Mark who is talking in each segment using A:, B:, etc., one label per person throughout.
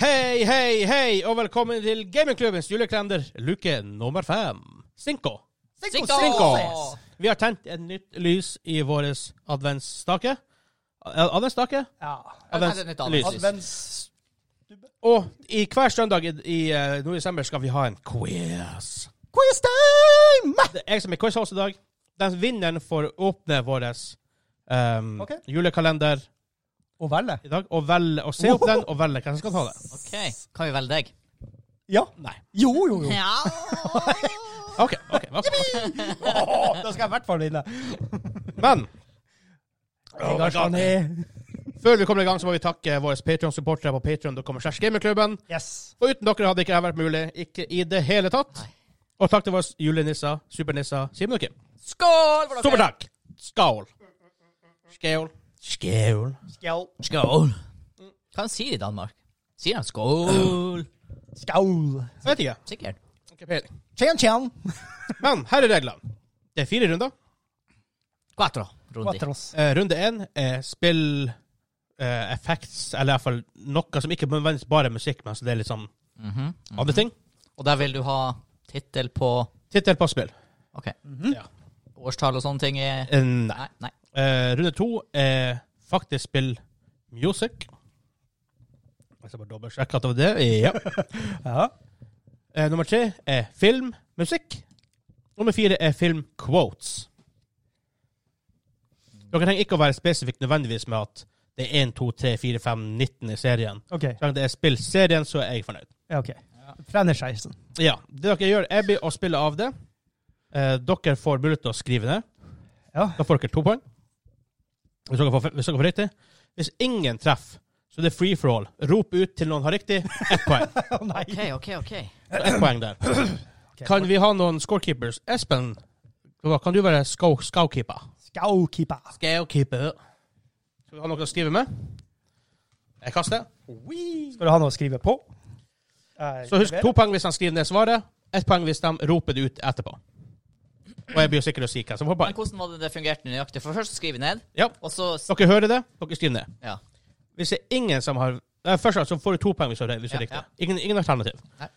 A: Hei, hei, hei, og velkommen til Gamingklubbens julekalender luke nummer fem. Cinco.
B: Cinco! Yes.
A: Vi har tent et nytt lys i vår adventsstake. Eh, Adventsstake?
B: Ja.
A: Advents-
B: Nei, det er nytt advents.
A: lys.
C: Advents...
A: Og i hver søndag i, i eh, nå i desember skal vi ha en quiz.
C: Quiz time!
A: Det er jeg som er quizhost i dag. Den vinneren får åpne vår ehm,
C: Ok.
A: julekalender
C: Å velge?
A: i dag, og, velge, og se opp den, og velge hvem som skal ta det.
B: OK. Kan vi velge deg?
C: Ja.
A: Nei.
C: Jo, jo, jo.
B: Ja.
A: OK. ok, ok.
C: Åh, da skal jeg i hvert fall vinne.
A: Men
C: Jeg har sånn i-
A: Før vi kommer i gang, så må vi takke våre Patreon-supportere på patreon.com. slash gamingklubben.
C: Yes.
A: Og uten dere hadde ikke dette vært mulig. Ikke i det hele tatt. Og takk til våre julenisser, supernisser, Simen og Kim.
B: Skål for dere!
A: Stor takk! Skål. Skål. Skål.
C: Skål.
B: Skål. Hva de sier de i Danmark? Sier de skål?
C: Skål.
A: Jeg vet ikke.
B: Sikkert.
A: Ikke peiling.
C: Tjen, tjen.
A: Men her er reglene. Det er fire runder.
B: Quattro. Rundi.
C: Vatter oss.
A: Eh, runde én er spill eh, effects, eller iallfall noe som ikke nødvendigvis bare er musikk, men så det er litt sånn
B: Mhm.
A: andre ting.
B: Og der vil du ha tittel på
A: Tittel på spill.
B: OK.
A: Ja.
B: Årstall og sånne ting er
A: Eh, nei.
B: Nei. nei.
A: Eh, runde to er faktisk spill music. Jeg skal bare dobbeltsjekke at det var det. Ja.
C: Ja.
A: Eh, nummer tre er film, musikk. Nummer fire er film quotes. Dere trenger ikke å være spesifikk nødvendigvis med at det er 1, 2, 3, 4, 5, 19 i serien.
C: OK.
A: Så lenge det er spillserien, så er jeg fornøyd.
C: Ja, ok. sånn. Franchisen.
A: Ja, Det dere gjør, er blir å spille av det. Eh, dere får mulighet til å skrive ned.
C: Ja.
A: Da får dere to poeng. Hvis dere får, hvis dere får riktig. Hvis ingen treffer, så det er free for all. Rop ut til noen har riktig. Ett poeng.
C: Å nei.
B: OK, OK, OK.
A: Så Ett poeng der. Kan vi ha noen scorekeepers? Espen, hva- kan du være scow- scowkeeper?
C: Skålkeeper.
A: Scowkeeper. Skal vi ha noe å skrive med? Jeg kaster.
C: Skal du ha noe å skrive på? Eh,
A: Så husk to poeng hvis han skriver ned svaret. Ett poeng hvis de roper det ut etterpå. Og jeg blir jo sikker til å si hvem som får
B: Men
A: poeng.
B: hvordan var det det fungerte nøyaktig? For først skriver vi ned,
A: Ja.
B: og så
A: Dere hører det, dere skriver ned.
B: Ja.
A: Hvis det er ingen som har Nei, Først så får du to poeng hvis du har hvis du
B: Ja,
A: har riktig.
B: ja.
A: Ingen, ingen alternativ.
B: Nei.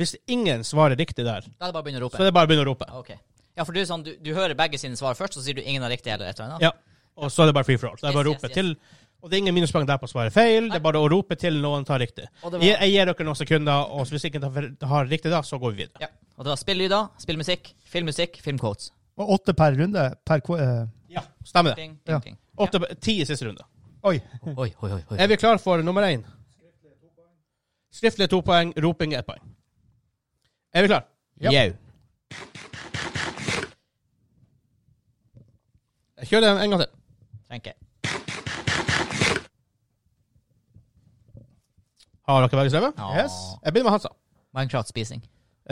A: Hvis ingen svarer riktig der,
B: Da er det bare å begynne å
A: så
B: rope.
A: er det bare å begynne å rope.
B: OK. Ja, for du, er sånn, du, du hører begge sine svar først, og så sier du ingen har riktig eller et eller annet.
A: Ja. Og så er det bare free for all. Så det er bare å
B: Yes,
A: rope
B: yes, yes.
A: til. Og det er ingen minuspoeng der på å svare feil. Det er bare å rope til noen tar riktig.
B: Og det var-
A: Jeg, jeg gir dere noen sekunder, og hvis ingen tar- har riktig da, så går vi videre.
B: Ja. Og det var spilllyder, spillmusikk, filmmusikk, filmquotes.
C: Og åtte per runde per kvo... eh,
A: Ja. Stemmer det.
B: Ding,
C: Ja.
B: ding, ding.
A: Åtte, Ti i siste runde.
C: Oi.
B: Oi, oi, oi. oi.
A: Er vi klar for nummer én? Skriftlig to poeng, roping ett poeng. Er vi klar?
C: Ja.
A: Jau. Jeg kjører den en gang til.
B: Trenger ikke.
A: Har dere begge skrevet?
B: Ja.
C: Yes.
A: Jeg begynner med Hansa.
B: Minecraft-spising.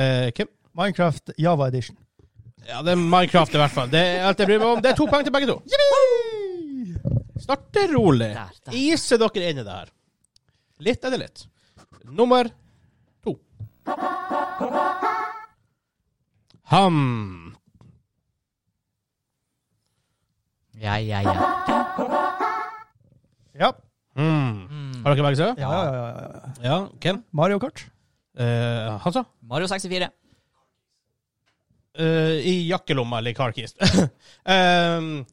A: Eh, Kim?
C: Minecraft Java Edition.
A: Ja, det er Minecraft i hvert fall. Det er alt jeg bryr meg om. Det er to poeng til begge to. Starte rolig.
B: Der, der.
A: Ise dere inn i det her. Litt etter litt. Nummer to. Ham.
B: Ja, ja, ja.
C: Ja.
A: Mm. Har dere begge seg?
C: Ja, ja, ja, ja, ja.
A: Ja. Ken?
C: Mario Kart.
A: Eh, Hansa?
B: Mario 64.
A: Eh, I jakkelomma eller i karkist. Ehm,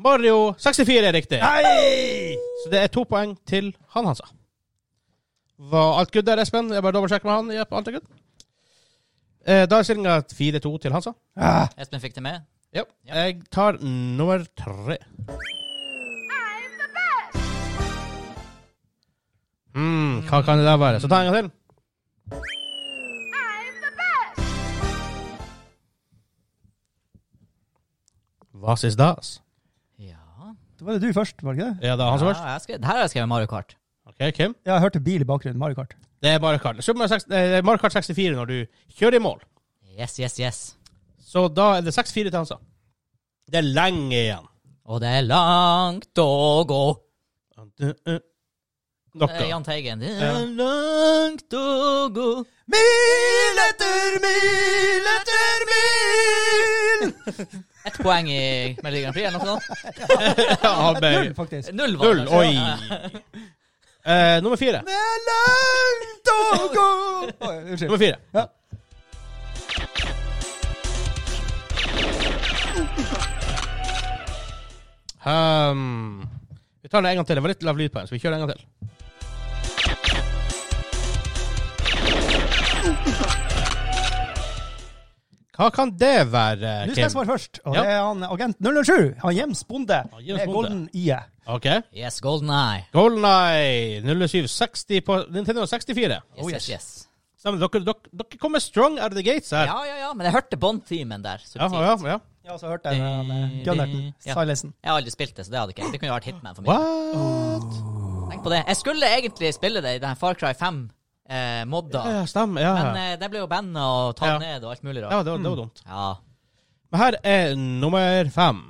A: Mario 64 er riktig.
C: Nei!
A: Så det er to poeng til han Hansa. Var alt good der, Espen? Jeg bare dobbeltsjekker med han. Jepp, alt er good. Eh, da er stillinga 4-2 til Hansa.
C: Ah.
B: Espen fikk det med.
A: Ja. Jeg tar nummer tre. Mm, hva kan det der være? Så ta en gang til. Hva is das?
B: Ja.
C: Det var det du først, var det ikke det?
A: Ja, det er han som
B: ja
A: først.
B: jeg skrev, her har jeg skrevet Mario Kart.
A: Ok, Kim.
C: Ja, jeg hørte bil i bakgrunnen. Mario Kart.
A: Det er Mario Kart. Super Mario 6 eh, Mario Kart 64 når du kjører i mål.
B: Yes, yes, yes.
A: Så da er det 6-4 til Hansa. Det er lenge igjen.
B: Og det er langt å gå.
A: Dere.
B: Eh, Jahn Teigen. Det
A: Ja.
B: er langt å gå.
C: Mil etter mil etter mil!
B: Ett poeng i Melodi Grand Prix, eller noe sånt.
A: Ja,
C: Null,
A: baby.
C: faktisk.
B: Null, var det
A: Null.
B: kanskje.
A: Oi.
B: Ja, ja.
A: Eh, nummer fire.
C: Det er langt Oi, Unnskyld.
A: Nummer fire.
C: Ja.
A: Ehm, vi tar den en gang til. Det var litt lav lyd på den, så vi kjører en gang til. Hva kan det være,
C: Nå skal jeg
A: Kim?
C: svare først. Og
A: Ja.
C: det er han agent 007. Han Jems Bonde
A: James
C: med
A: Bonde.
C: Golden IE.
A: OK.
B: Yes, golden eye.
A: Golden Eye 0760 på Nintendo 64.
B: Yes,
C: Oh, yes.
B: yes, yes.
A: Stemmer, dere, dere, dere kommer strong out of the gates her.
B: Ja, ja, ja, men jeg hørte Bond-teamen der.
A: Ja,
B: subtilt.
A: ja, ja.
C: Ja, så hørte jeg den eh, Gunnerten.
B: Ja.
C: Silensen.
B: Jeg har aldri spilt det, så det hadde ikke Det kunne jo vært Hitman for meg.
A: What?
B: Tenk på det. Jeg skulle egentlig spille det i den Far Cry 5-modda,
A: Ja, ja, stemmer. Ja.
B: men eh, det ble jo banna og tatt
A: Ja.
B: ned og alt mulig
A: ja,
B: rart.
A: det var, det
C: mm.
A: var dumt.
B: Ja.
A: Men her er nummer fem.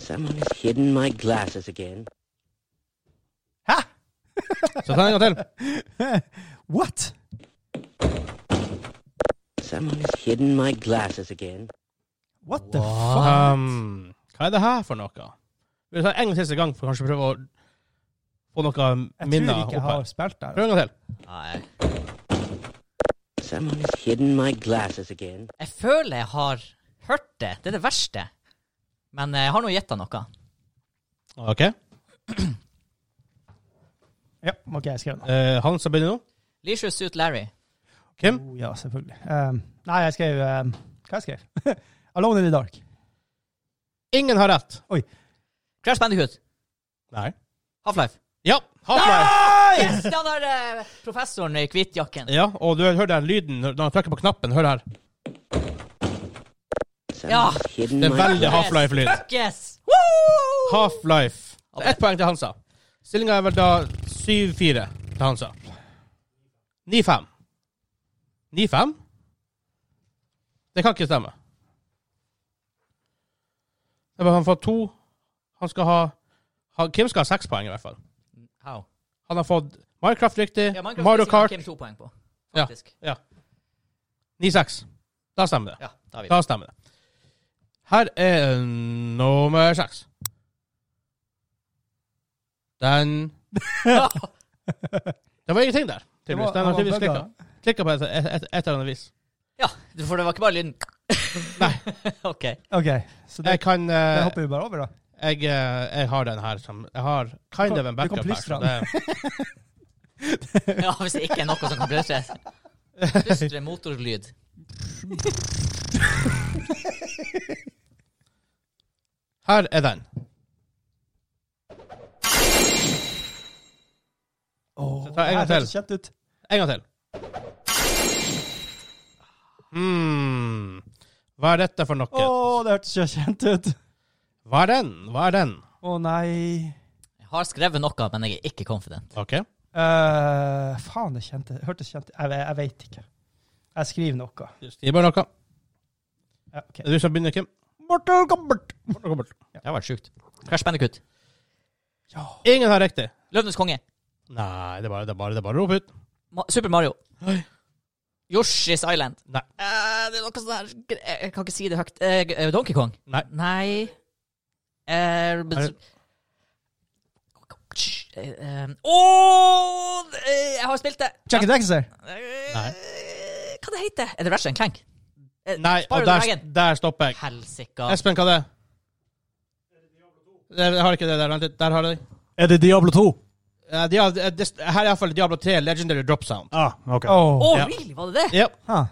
D: Someone has hidden my glasses again.
C: Hæ?
A: Så ta en gang til.
C: What?
D: Someone has hidden my glasses again.
C: What the fuck?
A: Um, hva er det her for noe? Vi tar en siste gang for kanskje å prøve å få noe
C: Jeg tror
A: minner
C: ikke
A: opp
C: jeg har
A: her.
C: spilt der. altså.
A: Prøv en gang til.
B: Nei.
D: Someone has hidden my glasses again.
B: Jeg føler jeg har hørt det. Det er det verste. Men eh, jeg har nå gjetta noe.
A: OK.
C: Ja, OK, jeg skrev den.
A: Eh, han som begynner nå.
B: Leisure Suit Larry.
A: Kim?
C: Oh, ja, selvfølgelig. Um, nei, jeg skrev um, Hva jeg skrev Alone in the Dark.
A: Ingen har rett.
B: Crash Bandicoot.
A: Nei.
B: Half-Life.
A: Ja. Half-Life.
B: Yes, den der eh, professoren i hvitjakken.
A: Ja, og du hører den lyden når han trykker på knappen. Hør her.
D: Someone
B: Ja.
D: has hidden
A: Det er
D: my
A: veldig
D: glasses.
A: Half-Life-lyd.
B: Fuck yes! Woo!
A: Half-Life. Det er Ett poeng til Hansa. Stillinga er vel da 7-4 til Hansa. 9-5. 9-5? Det kan ikke stemme. Det var han får to. Han skal ha, ha Kim skal ha seks poeng, i hvert fall.
B: How?
A: Han har fått Minecraft riktig,
B: Ja, Minecraft
A: Mario
B: Mario
A: Kart
B: Kim to poeng på,
A: Ja.
B: faktisk.
A: 9-6. Da stemmer det.
B: Ja, da er vi
A: Da stemmer det. Her er nummer seks. Den
B: der.
A: Det var ingenting der.
C: Det
A: tydeligvis.
C: var-
A: Den har
C: han var
A: tydeligvis
C: bugga.
A: klikka. Klikka på et, et, et, et eller annet vis.
B: Ja, for det var ikke bare lyden.
A: Nei.
B: OK.
C: OK, så det,
A: Jeg kan eh,
C: det hopper vi bare over, da.
A: jeg, eh, jeg har den her som Jeg har kind of en
C: Du kan
A: backup her.
C: plystre
A: så det-
B: Ja, Hvis det ikke er noe som kan plystres. Plystre motorlyd.
A: Her er den.
C: Oh,
A: ta en gang til.
C: Kjent ut.
A: En gang til. Hmm. Hva er dette for
C: Å,
A: noe?
C: det hørtes så kjent ut.
A: Hva er den? Hva er den?
C: Å nei.
B: Jeg har skrevet noe, men jeg er ikke confident.
A: OK.
C: Eh, faen, det kjente, hørtes kjent Jeg, ve- jeg veit ikke. Jeg skriver noe.
A: Gi bare noe.
C: Ja, ok.
A: Er det du som begynner, Kim?
C: Mortal Kombat.
B: Det har vært sjukt. Crash Bandicoot.
C: Ja.
A: Ingen har riktig.
B: Løvenes konge.
A: Nei, det er bare, det er bare, det er bare å rope ut.
B: Ma Super Mario. Yoshi's Island.
A: Nei.
B: Eh, det er noe sånn her Jeg jeg kan ikke si det høyt. Eh, eh, Donkey Kong.
A: Nei.
B: Nei Eh,
A: Er det-
B: Eh, eh, Åh, eh, Jeg har spilt det!
C: Jack and Dexter.
A: Nei.
B: Eh, Hva det heter det? Er det Ratchet and Clank? Eh,
A: Nei, og
B: Spyro the
A: der,
B: Dragon.
A: der stopper jeg.
B: Helsika.
A: Espen, hva er det? Det- Jeg har ikke det der. Vent litt. Der har jeg det.
E: Er det Diablo 2?
A: Eh, Dia- eh, det- Her er iallfall Diablo 3 Legendary Drop Sound.
E: Ah, ok.
B: Å,
C: Oh.
A: Ja.
B: really? Var det det?
A: Yep.
C: Huh.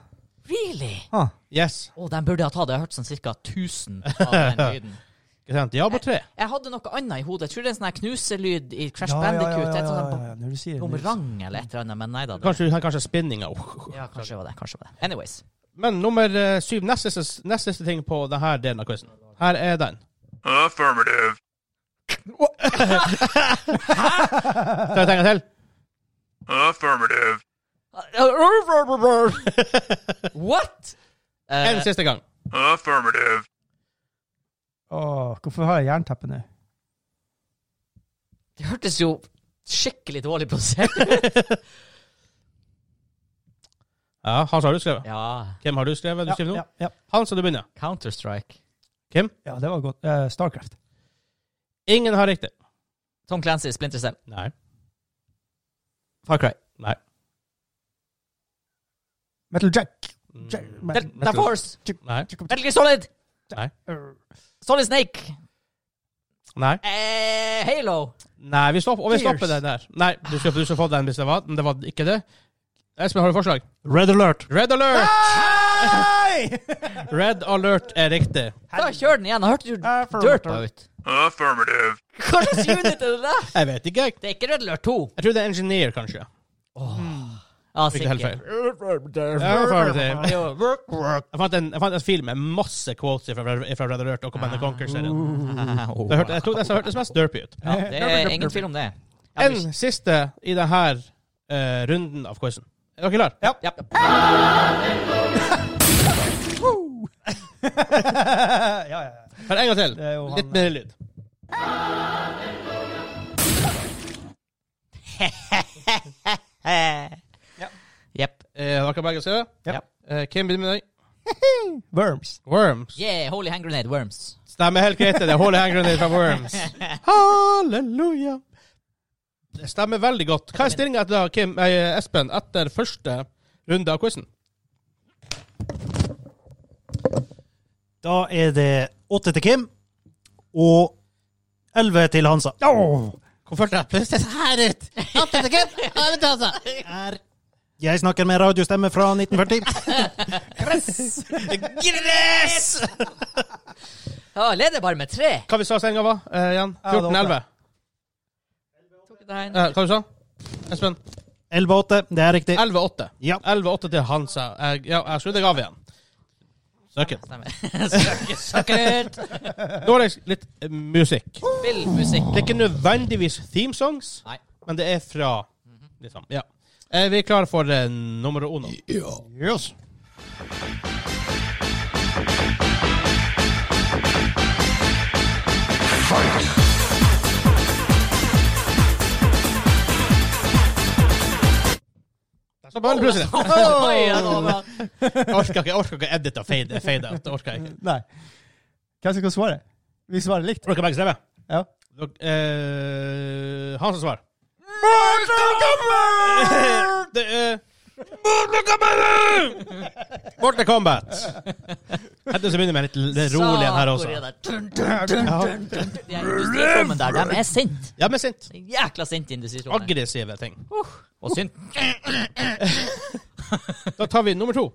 B: Really?
C: Huh.
A: Yes.
B: Å, den burde jeg ha tatt. Jeg har hørt sånn ca. 1000 av den lyden.
A: Ikke sant? Diablo 3.
B: Jeg hadde noe annet i hodet. Jeg tror det er en sånn her knuselyd i Crash
C: Ja, ja, ja,
B: Bandicoot.
C: ja,
B: Et
C: ja,
B: sånt
C: ja, ja, når du sier det, når du sier det.
B: bumerang eller et eller annet, men nei da. Det,
A: Kanskje, kanskje spinninga.
B: ja, kanskje det var det. Kanskje det var det. Anyways.
A: Men nummer eh, syv, nest siste, nest siste ting på denne delen av quizen. Her er den.
F: Affirmative.
A: Skal jeg tenke til?
F: Affirmative.
B: What?
A: En
B: Eh,
A: siste gang.
F: Affirmative.
C: Åh, hvorfor har jeg jernteppe nå?
B: det hørtes jo skikkelig dårlig prosent ut.
A: Ja, Hans har du skrevet.
B: ja.
A: Hvem har du skrevet? Du
C: Ja,
A: skriver nå?
C: ja, ja.
A: Hans, du begynner.
B: Counter-Strike.
A: Kim?
C: ja, det var godt. Eh, Starcraft.
A: Ingen har riktig.
B: Tom Clancy, Splinter Cell.
A: Nei.
B: Far Cry.
A: Nei.
C: Metal Jack. Jack
B: Del-
C: Mm. Metal-
B: Delta Force.
A: Nei.
B: Metal Gear Solid.
A: Nei.
C: Err.
B: Solid Snake.
A: Nei.
B: Eh, Halo.
A: Nei, vi stopper, og vi
C: Gears.
A: stopper den der. Nei, du skal, du skal få den hvis det var, men det var ikke det. Espen, har du forslag?
E: Red Alert.
A: Red alert! Red alert er riktig.
B: Da kjør den igjen. Hørte du dørpa ut?
F: Affirmative.
B: Hva slags unit er det der?
A: Jeg vet ikke. jeg.
B: Det er ikke Red Alert 2.
A: Jeg tror det er engineer, kanskje.
B: Ja,
A: Ikke helt feil.
B: sikkert.
A: Jeg fant en, jeg fant en film med masse quotes fra, fra Red Alert og Command Conquer-serien. Det hørte- Jeg tror den som hørtes mest derpy ut.
B: Ja, det er ingen tvil om det. Ja,
A: En
B: vi-
A: siste i denne eh, runden av quizen. Er dere klare?
B: ja.
C: Ja, ja, ja.
A: Her, en gang til.
C: er jo han- eh,
A: Litt mer lyd.
B: Eh, Jepp.
A: Eh, dere begge ser det?
C: Ja.
A: Eh, Kim begynner med deg.
C: Worms.
A: Worms.
B: Yeah, Holy Hand Grenade Worms.
A: Stemmer helt greit. Det er Holy Hand Grenade fra Worms. Halleluja. Det stemmer veldig godt. Hva er stillinga etter da, Kim, eh, Espen etter første runde av quizen?
E: Da er det åtte til Kim og elleve til Hansa.
A: Hvor følte jeg plutselig her ut?
E: Er Jeg snakker med radiostemme fra 1940.
B: Gress! Ja, leder bare med tre.
A: Hva vi sa sendinga var eh, igjen?
C: det var
A: 14-11? Eh, hva du sa Espen?
E: 11-8, det er riktig.
A: 11-8.
E: Ja.
A: 11-8 til Hansa. Jeg, ja, jeg skrudde deg av igjen. Søker.
B: Stemmer. Søker, søker.
A: Dårligst litt eh, musikk.
B: Spillmusikk.
A: Det er ikke nødvendigvis theme songs,
B: Nei.
A: men det er fra liksom, Ja. Er vi klare for eh, nummer uno?
E: Yes.
A: Så bare plutselig.
B: Oi, ja, det var bra.
A: Jeg orker ikke, jeg orker ikke edit og fade, fade out. Det orker jeg ikke.
C: Nei. Hvem som skal svare? Vi svarer likt.
A: Orker begge stemmer.
C: Ja.
A: Dok- eh, han som svarer. Det eh, er Mortal Kombat! Hette så begynner vi litt l- rolig igjen her også.
B: Sa Korea der. Dun, dun, dun, dun, dun. De her industristrømmen der, de er sint.
A: Ja, men sint.
B: De er Jækla sint industristrømmen.
A: Aggressive ting.
B: Og synd.
A: Da tar vi nummer to.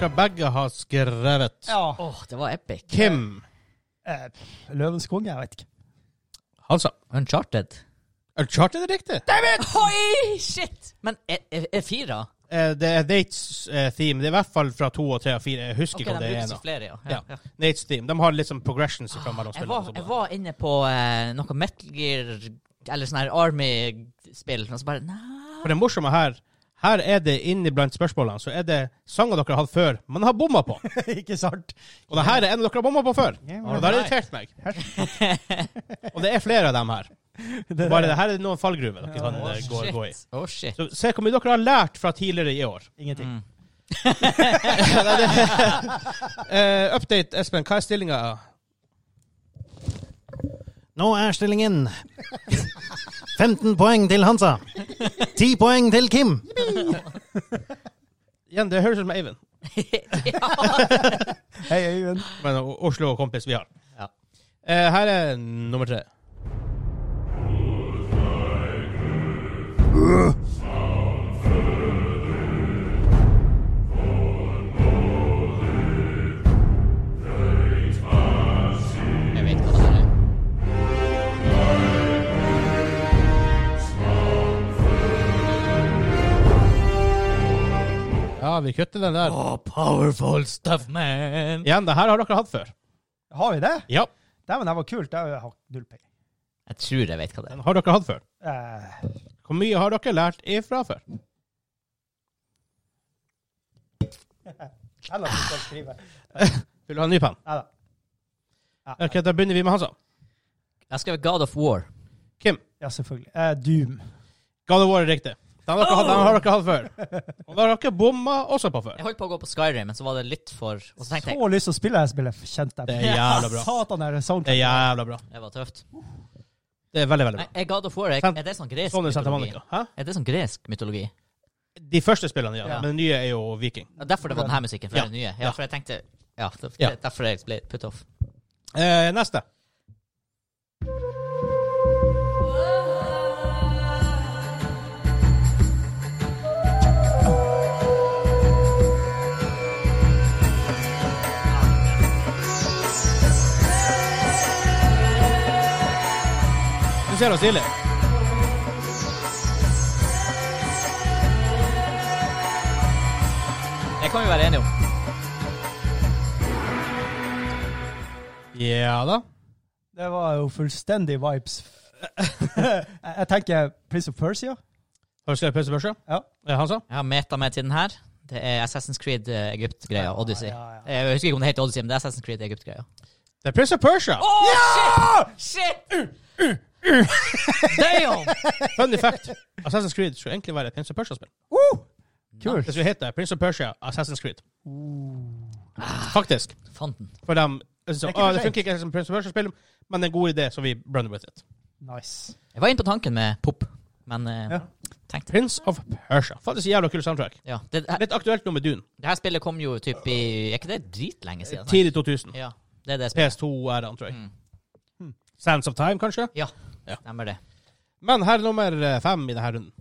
A: Dere begge har skrevet.
B: Åh, det var epic.
A: Kim
C: Eh, Løvens konge, jeg vet ikke.
A: Hansa.
B: Uncharted.
A: Uncharted er riktig.
B: Oi, shit! Men er, er, er fire?
A: Eh, Det er Nates eh, theme. Det er i hvert fall fra to og tre og fire. Jeg husker
B: Ok,
A: ikke
B: de
A: om det er
B: bruker
A: en.
B: så
A: av.
B: flere, ja.
A: Ja.
B: ja, ja. Ah,
A: Nates theme. De har liksom progressions fra mellom
B: Jeg
A: spillene.
B: var,
A: og
B: jeg
A: sånt.
B: var inne på eh, noe Metal Gear eller sånn her Army-spill, og så bare Nei.
A: For det morsomme her her er det inni blant spørsmålene så er det sanger dere har hatt før, men har bomma på.
C: ikke sant?
A: Og det her er en dere har bomma på før. Og det har irritert meg. Og det er flere av dem her. Bare det her er noen fallgruver dere kan eh, gå, gå i.
B: Å, shit.
A: Så se hvor mye dere har lært fra tidligere i år.
C: Ingenting.
A: Eh, update, Espen. Hva er stillinga?
E: Nå er stillingen 15 poeng til Hansa. 10 poeng til Kim.
A: Igjen, det høres ut som Eivind.
C: Hei, Øyvind.
A: Men O- Oslo og kompis vi har.
B: Ja.
A: Eh, her er nummer tre.
B: Jeg vet hva det her er.
A: Ja, vi kutter den der.
B: Oh, powerful stuff, man.
A: Igjen, det her har dere hatt før.
C: Har vi det?
A: Ja.
C: Dæven, det var kult. Jeg har null peiling.
B: Jeg tror jeg vet hva det er.
A: Den har dere hatt før.
C: Eh,
A: Hvor mye har dere lært ifra før?
C: Ellers skal jeg skrive.
A: Vil du ha en ny penn?
C: Nei da.
A: Ok, Da begynner vi med Hansa.
B: Jeg har skrevet God of War.
A: Kim.
C: Ja, selvfølgelig. Eh, Doom.
A: God of War er riktig. Den har dere, hatt- den har dere hatt før. Og den har dere bomma også på før.
B: Jeg holdt på å gå på Skyrim, men så var det litt for Og så tenkte jeg
C: Så lyst til å spille det spillet, kjente
A: Det er
C: jeg.
A: Eh, jævla bra.
C: Satan, er det sånn?
A: Det er jævla bra.
B: det var tøft.
A: Det er veldig, veldig
B: Nei,
A: bra.
B: er God of War er,
A: Sant.
B: er det sånn gresk
A: Sånn er Santa
B: mytologi?
A: Monica. Hæ?
B: Er det sånn gresk mytologi?
A: De første spillene, ja.
C: Ja.
A: Men den nye er jo viking.
B: Ja, Derfor det var denne musikken, for
A: Ja.
B: det er nye.
A: Ja.
B: Ja, for jeg tenkte Ja, det,
A: Ja.
B: det- derfor jeg ble put off.
A: Eh, neste. Du ser oss tidlig.
B: Det kan vi være enige om.
A: Ja da.
C: Det var jo fullstendig vibes. jeg, jeg tenker Prince of Persia.
A: Har du skrevet pølsebørse?
C: Ja.
A: Eh, Hansa?
B: Jeg har meta med til den her. Det er Assassin's Creed eh, Egypt-greia. Odyssey.
C: ja, ja.
B: Eh, Jeg husker ikke om det heter Odyssey, men det er Assassin's Creed Egypt-greia.
A: Det er Prince of Persia!
B: Oh,
C: Ah,
B: Shit! Damn!
A: Funny fact. Assassin's Creed skulle egentlig være et Prince of Persia-spill.
C: Uh! Kult.
A: Det skulle hete Prince of Persia Assassin's Creed. Faktisk.
B: Fant den.
A: For dem jeg synes,
C: Det er ikke
A: «Å,
C: for
A: det
C: sent.»
A: funker ikke som Prince of Persia-spill, men det er en god idé, så vi run with it.
C: Nice.
B: Jeg var inne på tanken med pop, men eh,
C: Ja.
B: tenkte
A: Prince of Persia. Faktisk jævla kul soundtrack.
B: ja, det, det,
A: Litt aktuelt nå med Dune.
B: her spillet kom jo typ i Er ikke det dritlenge siden?
A: Tidlig 2000.
B: Ja, det er det spillet.
A: PS2-æraen, tror jeg.
B: Mm.
A: Hmm. Sands of Time, kanskje?
B: Ja,
A: Ja.
B: stemmer det.
A: Men her er nummer eh, fem i denne runden.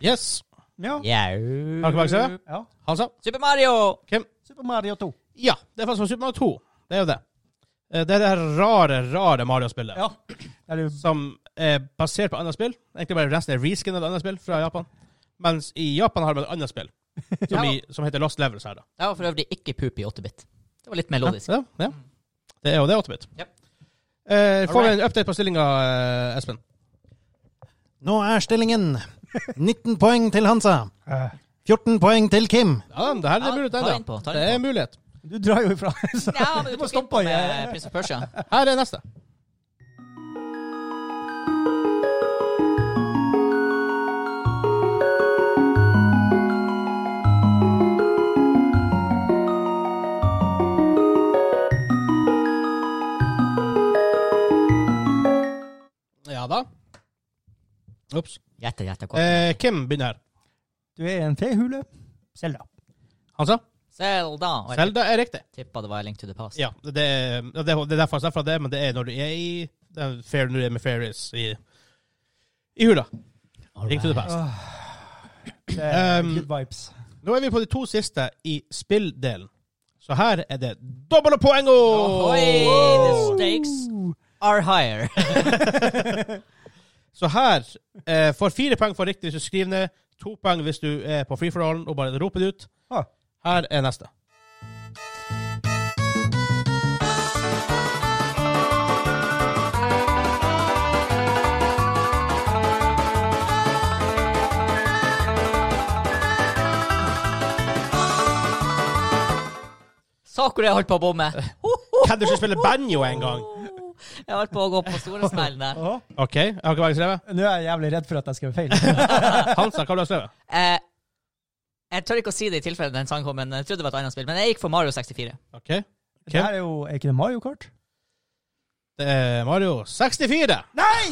A: Yes.
C: Ja.
A: Har dere bak seg?
C: ja.
A: Hansa?
B: Super Mario!
A: Kim?
C: Super Mario 2.
A: Ja, det er faktisk fra Super Mario 2. Det er jo det. Eh, Det er det her rare, rare Mario-spillet.
C: Ja. Er det,
A: som er basert på andre spill. Egentlig bare resten er reskin av andre spill fra Japan. Mens i Japan har de et annet spill som, i, som heter Lost Levels her, da.
B: Det var for øvrig ikke poop i 8-bit. Det var litt melodisk.
A: Ja, ja. Det er jo det, 8-bit.
B: Yep.
A: Eh, får vi
B: Alright.
A: en update på stillinga, eh, Espen?
E: Nå er stillingen 19 poeng til Hansa.
C: Eh,
E: 14 poeng til Kim.
A: Ja, det her er
B: Ja,
A: mulighet
B: ta inn
A: ennå.
B: på, ta
A: Det
B: inn
A: er
B: på.
A: mulighet.
C: du drar jo ifra. så-
B: Ja, men du
C: må
B: tok
C: stoppe
B: ikke med
C: igjen.
B: Prince of Persia.
A: Her er neste. Ja da. Ops.
B: Gjette, gjette. hva?
A: Eh, Kim begynner her.
C: Du er i en tehule. Selda.
A: Hansa?
B: Zelda. Og jeg
A: Selda er riktig.
B: tippa det var A Link to the Past.
A: Ja, det, er- det, er- det er derfor jeg sa fra det, men det er når du er i det er fair, Når du er med fairies i, i hula. Ring to the past.
C: Det er
A: Um,
C: good vibes.
A: Nå er vi på de to siste i spilldelen. Så her er det doble poengo! oh!
B: Ohoi, the stakes are higher.
A: Så her eh, får fire poeng for riktig hvis du skriver ned, to poeng hvis du er på free for all og bare roper det ut.
C: Ah.
A: Her er neste.
B: Sakura holdt på å bomme. Ho, ho,
A: Kan du ikke spille banjo en gang?
B: ho. Jeg holdt på å gå på store smellen der.
C: Åh,
A: OK, jeg har ikke hva jeg har skrevet.
C: Nå er jeg jævlig redd for at jeg skrev feil.
A: Hansa, hva har du skrevet?
B: Eh, jeg tør ikke å si det i tilfelle den sangen kom, men jeg trodde det var et annet spill. Men jeg gikk for Mario 64.
A: OK.
C: Det her er jo er ikke det Mario Kart?
A: Det er Mario 64.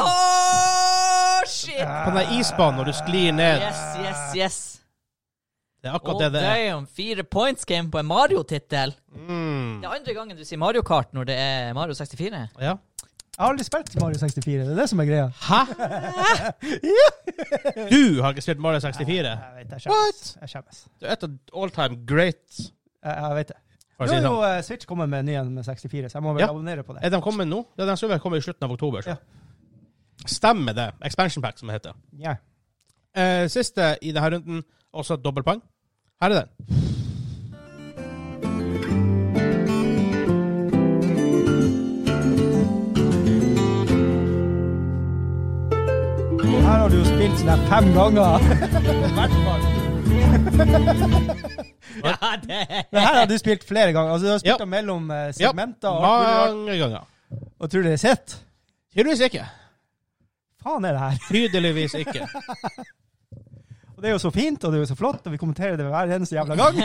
B: Åh, shit!
A: På den der isbanen når du sklir ned.
B: Yes, yes, yes.
A: Det er akkurat
B: Oh,
A: det det er.
B: damn, fire points game på en Mario-tittel.
A: Mm.
B: Det er andre gangen du sier Mario Kart når det er Mario 64.
A: Ja.
C: Jeg har aldri spilt Mario 64. Det er det som er greia.
A: Hæ? Du har ikke spilt Mario 64?
C: Jeg vet, jeg skjemmes. Jeg skjemmes.
A: Ah. Du er et av all time great.
C: Jeg, jeg vet det.
A: For å
C: Nå
A: si
C: er
A: det
C: jo
A: sånn.
C: eh, Switch kommet med en ny en med 64, så jeg må vel
A: Ja.
C: abonnere på det.
A: Er de kommet nå? Ja, de skulle vel komme i slutten av oktober. Så.
C: Ja.
A: Stemmer det. Expansion pack, som det heter.
C: Ja.
A: Eh, siste i denne runden, også et dobbeltpoeng. Her er den.
C: deg sånn fem ganger. I hvert fall.
B: Ja, det
C: Det her har du spilt flere ganger. Altså, du har
A: Ja.
C: spilt den mellom eh,
A: Ja,
C: segmenter og alt mulig rart.
A: mange ganger.
C: Og tror du det sitter?
A: Tydeligvis ikke.
C: Faen er det her?
A: Tydeligvis ikke.
C: Og det er jo så fint, og det er jo så flott, og vi kommenterer det hver eneste jævla gang.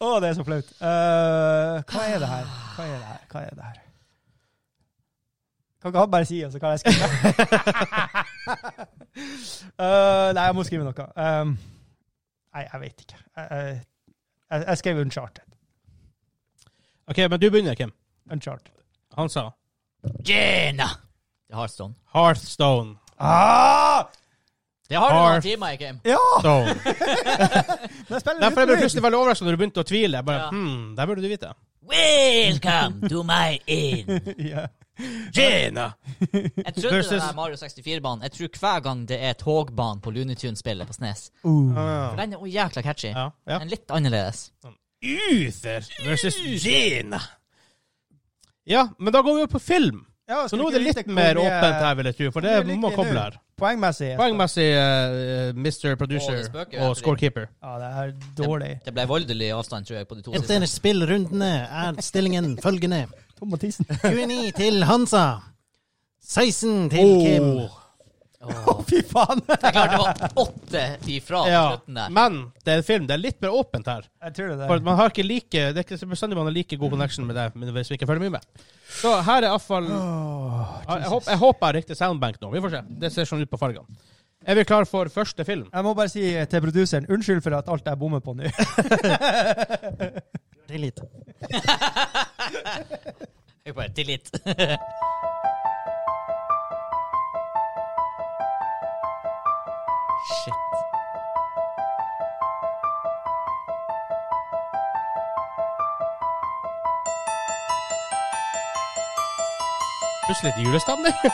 C: Å, det er så flaut. Eh, hva er det her? Hva er det her? Hva er det her? Kan ikke han bare si, og så kan jeg skrive? Eh, nei, jeg må skrive noe. Um, nei, jeg vet ikke. Jeg, jeg- jeg, jeg skrev Uncharted.
A: OK, men du begynner, Kim.
C: Uncharted.
A: Han sa
B: Gena! Det har stånd.
A: Hearthstone.
C: Ah!
B: Det har du
A: Har-
B: noen timer i game.
C: Ja!
A: Stone.
C: Men jeg spiller
A: Derfor
C: uten
A: ble jeg
C: lyd.
A: plutselig veldig overrasket når du begynte å tvile. Jeg Bare,
B: Ja.
A: hmm, Det burde du vite.
B: Welcome to my inn.
C: Ja.
A: Gena.
B: Jeg trodde
A: Versus-
B: det var Mario 64-banen. Jeg tror hver gang det er togbanen på Looney Tunes-spillet på Snes.
C: Uh. Ah,
B: For den er jo jækla catchy.
A: Ja, ja.
B: Men litt annerledes.
A: Uther versus Gena. Ja, men da går vi jo på film.
C: Ja,
A: Så
C: skal
A: nå er
C: vi
A: det
C: ikke
A: litt
C: vite
A: mer
C: hvor mye
A: åpent her, vil jeg tro, for det
C: hvor mye
A: må
C: liker
A: koble
C: du?
A: her.
C: Poengmessig.
A: Poengmessig eh, Mr. Producer
B: Å, det spøker jo
A: og
B: etter
A: scorekeeper.
C: Ja, det er dårlig.
B: Det ble voldelig avstand, tror jeg, på de to
E: Etter
B: siste.
E: spillrundene er stillingen følgende.
C: Tom Mathisen.
E: 29 til Hansa. 16 til Kim.
A: Åh.
B: Åh.
C: Fy faen!
B: Det er klart det var åtte ifra på
A: Ja,
B: slutten der.
A: men det er en film. Det er litt mer åpent her.
C: Jeg tror det.
A: For at man har ikke like Det er ikke bestandig man har like god connection med deg men hvis vi ikke følger mye med. Så her er iallfall jeg, jeg, håper- jeg håper jeg har riktig soundbank nå. Vi får se. Det ser sånn ut på fargene. Er vi klar for første film?
C: Jeg må bare si til produseren unnskyld for at alt jeg bommer på nå.
E: Det er litt.
B: Jeg bare tillit. Shit.
A: Plutselig litt julestemning.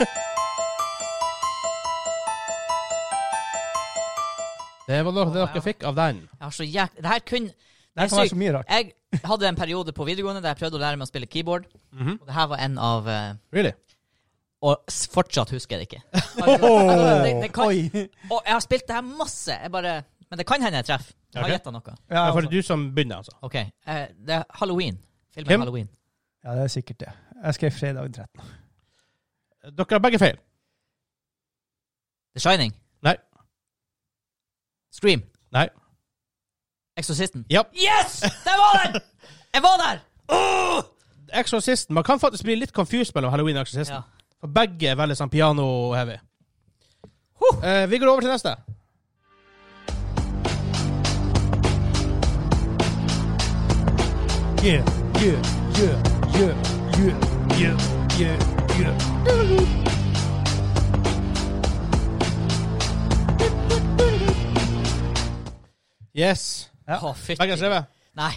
A: Det var noe dere fikk av den.
B: Jeg har så jæk... Det her kun Det
C: her
B: er
C: kan være
B: sykt.
C: så mye rart.
B: Jeg hadde en periode på videregående der jeg prøvde å lære meg å spille keyboard.
C: Mhm.
B: Og det her var en av eh,
A: Really?
B: Og s- fortsatt husker jeg det ikke. det, det kan,
C: Oi.
B: og jeg har spilt det her masse. Jeg bare, men det kan hende jeg treffer. Jeg har
A: Ok.
B: gjetta noe.
A: Ja,
C: Ja,
A: for det er du som begynner, altså.
B: OK. eh, det er halloween. Filmen
A: Hvem?
B: Halloween.
C: ja, det er sikkert det. Jeg skrev fredag 13.
A: Dere har begge feil.
B: The Shining.
A: Nei.
B: Scream.
A: Nei.
B: Eksorsisten.
A: Ja.
B: Yes! Der var den! Jeg var der!
A: Exorcisten. Man kan faktisk bli litt confused mellom Halloween og Exorcisten.
B: Ja.
A: For begge er veldig sånn piano-heavy.
B: Huh.
A: Eh, vi går over til neste.
C: Yeah, yeah, yeah, yeah, yeah, yeah, yeah, yeah.
A: Yes.
B: Å, fytti
A: Begge har skrevet.
B: Nei.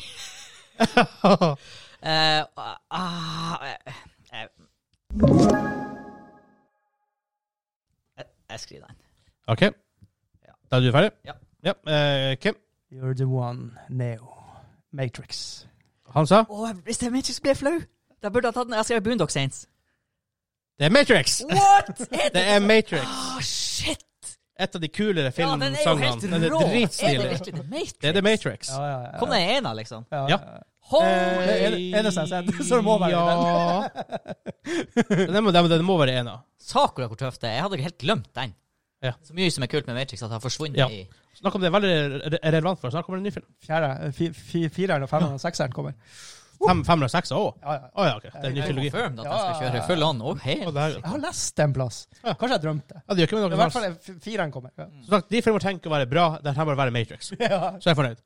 B: Eh, ah, eh, eh. Jeg- Jeg skriver den.
A: OK. Da er du ferdig?
B: Ja.
A: eh, Kim?
C: You're the one, Neo. Matrix.
A: Han sa
B: Å, hvis jeg ikke ble flau, da burde jeg tatt den. Jeg skrev Boondock Saints.
A: Det er Matrix!
B: What?! Er
A: Det er Matrix.
B: Å, shit!
A: Et av de kulere
B: Ja, den er jo helt
A: filmsangene. den er
B: rå! Er det
A: dritstilig.
B: virkelig The Matrix?
A: Det er The Matrix.
C: Ja, ja, ja.
B: Kom det en av, liksom?
C: Ja.
A: Ja.
B: Holy
C: Eh, er det- er det sånn sett? Så det må være
A: ja. den. Må, den, den må være en av.
B: Sakura, hvor tøft det er. Jeg hadde helt glemt den.
A: Ja.
B: Så mye som er kult med Matrix, at det har forsvunnet
A: Ja.
B: i
A: Snakk om det er veldig re- relevant for oss. Snakk om en ny film.
C: Fjerde, fi, fi, fireren og femmeren og sekseren kommer.
A: Fem, fem og seks òg?
C: Ja, ja.
A: Å ja, OK. Det er en ny trilogi.
B: Confirmed at jeg skal
C: Ja.
B: kjøre full on. Oh,
A: Å,
B: hell.
A: det er-
C: Jeg har lest en plass.
A: Ja.
C: Kanskje jeg drømte.
A: Ja, det gjør ikke
C: I
A: noe som
C: hvert
A: helst.
C: fall er f- fireren kommer. Ja.
A: Som sagt, de filmer tenker å være bra, den her må være Matrix. Så
C: Ja.
A: jeg er fornøyd.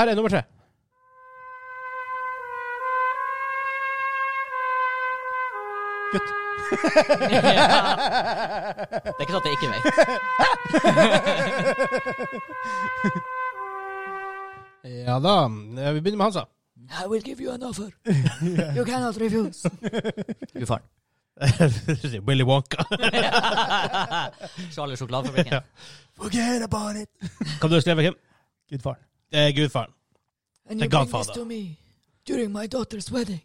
A: Her er nummer tre.
B: Det er ikke sånn at jeg ikke vet.
A: Ja da. eh, Vi begynner med Hansa.
B: I will give you an offer. You cannot refuse. Fy faen.
A: Willy Wonka.
B: Charlie Sjokoladefabrikken.
C: Forget about it.
A: Hva du har skrevet, Kim?
C: Gudfaren.
A: Det er Gudfaren.
B: And
A: The you bring this Godfather. to
B: me during my daughter's wedding.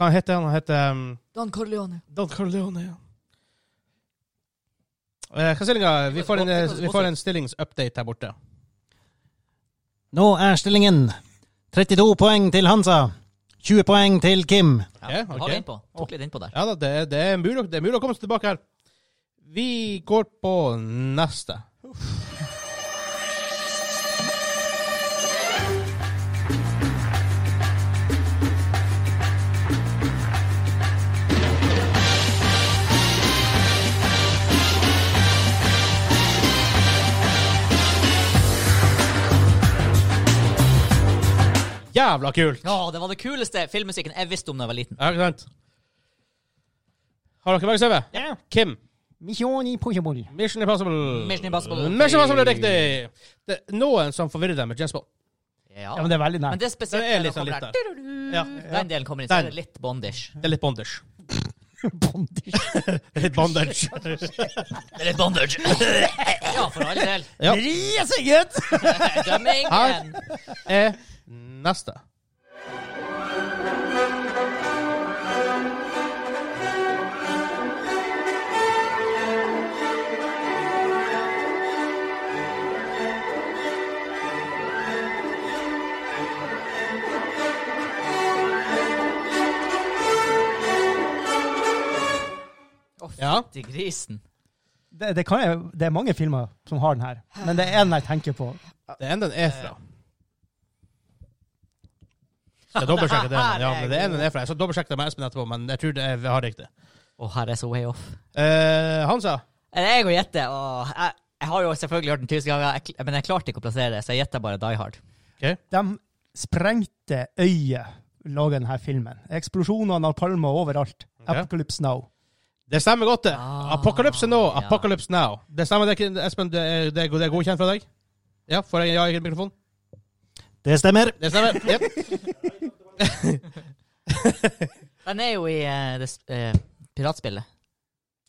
A: Hva heter han? Han heter um,
B: Don Corleone.
A: Don Corleone. ja. Eh, Hva stillinga? Vi får en, eh, vi får en stillingsupdate her borte.
E: Nå er stillingen 32 poeng til Hansa. 20 poeng til Kim.
B: Ja,
A: Ok,
B: har
A: ok.
B: vi innpå. Tok litt innpå der.
A: Ja da, det, er- det, er mulig, det er mulig å komme seg tilbake her. Vi går på neste. Jævla kult!
B: Ja, det var det kuleste filmmusikken jeg visste om da jeg var liten.
A: Ja, ikke sant? Har dere begge CV?
B: Ja.
A: Kim.
C: Mission impossible.
A: Mission Impossible.
B: Mission Impossible.
A: Mission Impossible er riktig! Det er noen som forvirrer deg med James Bond.
B: Ja.
C: Ja, men det er veldig
B: Men
C: nært.
B: det er spesielt
A: Det er
B: når
A: litt sånn
B: kommer
A: litt
B: her.
A: Ja.
B: Den delen kommer inn, så
A: Den.
B: er det litt bondish.
A: Det er litt bondage.
C: Bondage.
A: Det er litt bondage.
B: Det er litt bondage. ja, for all del.
A: Ja.
B: Dømming.
A: Her.
B: men-
A: Er neste.
B: Å, fytti
A: Ja.
B: grisen.
C: Det, det, kan jeg, det er mange filmer som har den her, men det er en jeg tenker på.
A: Det er en den er fra. Jeg dobbeltsjekker det. Ja, men det er en den er fra. Jeg skal dobbeltsjekke det med Espen etterpå, men jeg tror det er, vi har riktig.
B: Å, her er så way off.
A: Eh, Hansa.
B: Er det jeg å gjette? Å, jeg, jeg har jo selvfølgelig hørt den tusen ganger, jeg, kl- men jeg klarte ikke å plassere det, så jeg gjetter bare Die Hard.
C: De sprengte øyet laga denne filmen. Eksplosjoner av napalmer overalt. Apocalypse Now.
A: Det stemmer godt, det.
B: Ah,
A: Apocalypse nå,
B: ja.
A: Apocalypse now. Det stemmer, det, ikke- Espen. Det er, det er god- det er godkjent fra deg? Ja, får jeg ja i mikrofonen?
E: Det stemmer.
A: Det stemmer. Jep.
B: Den er jo i eh, det, s- eh, piratspillet.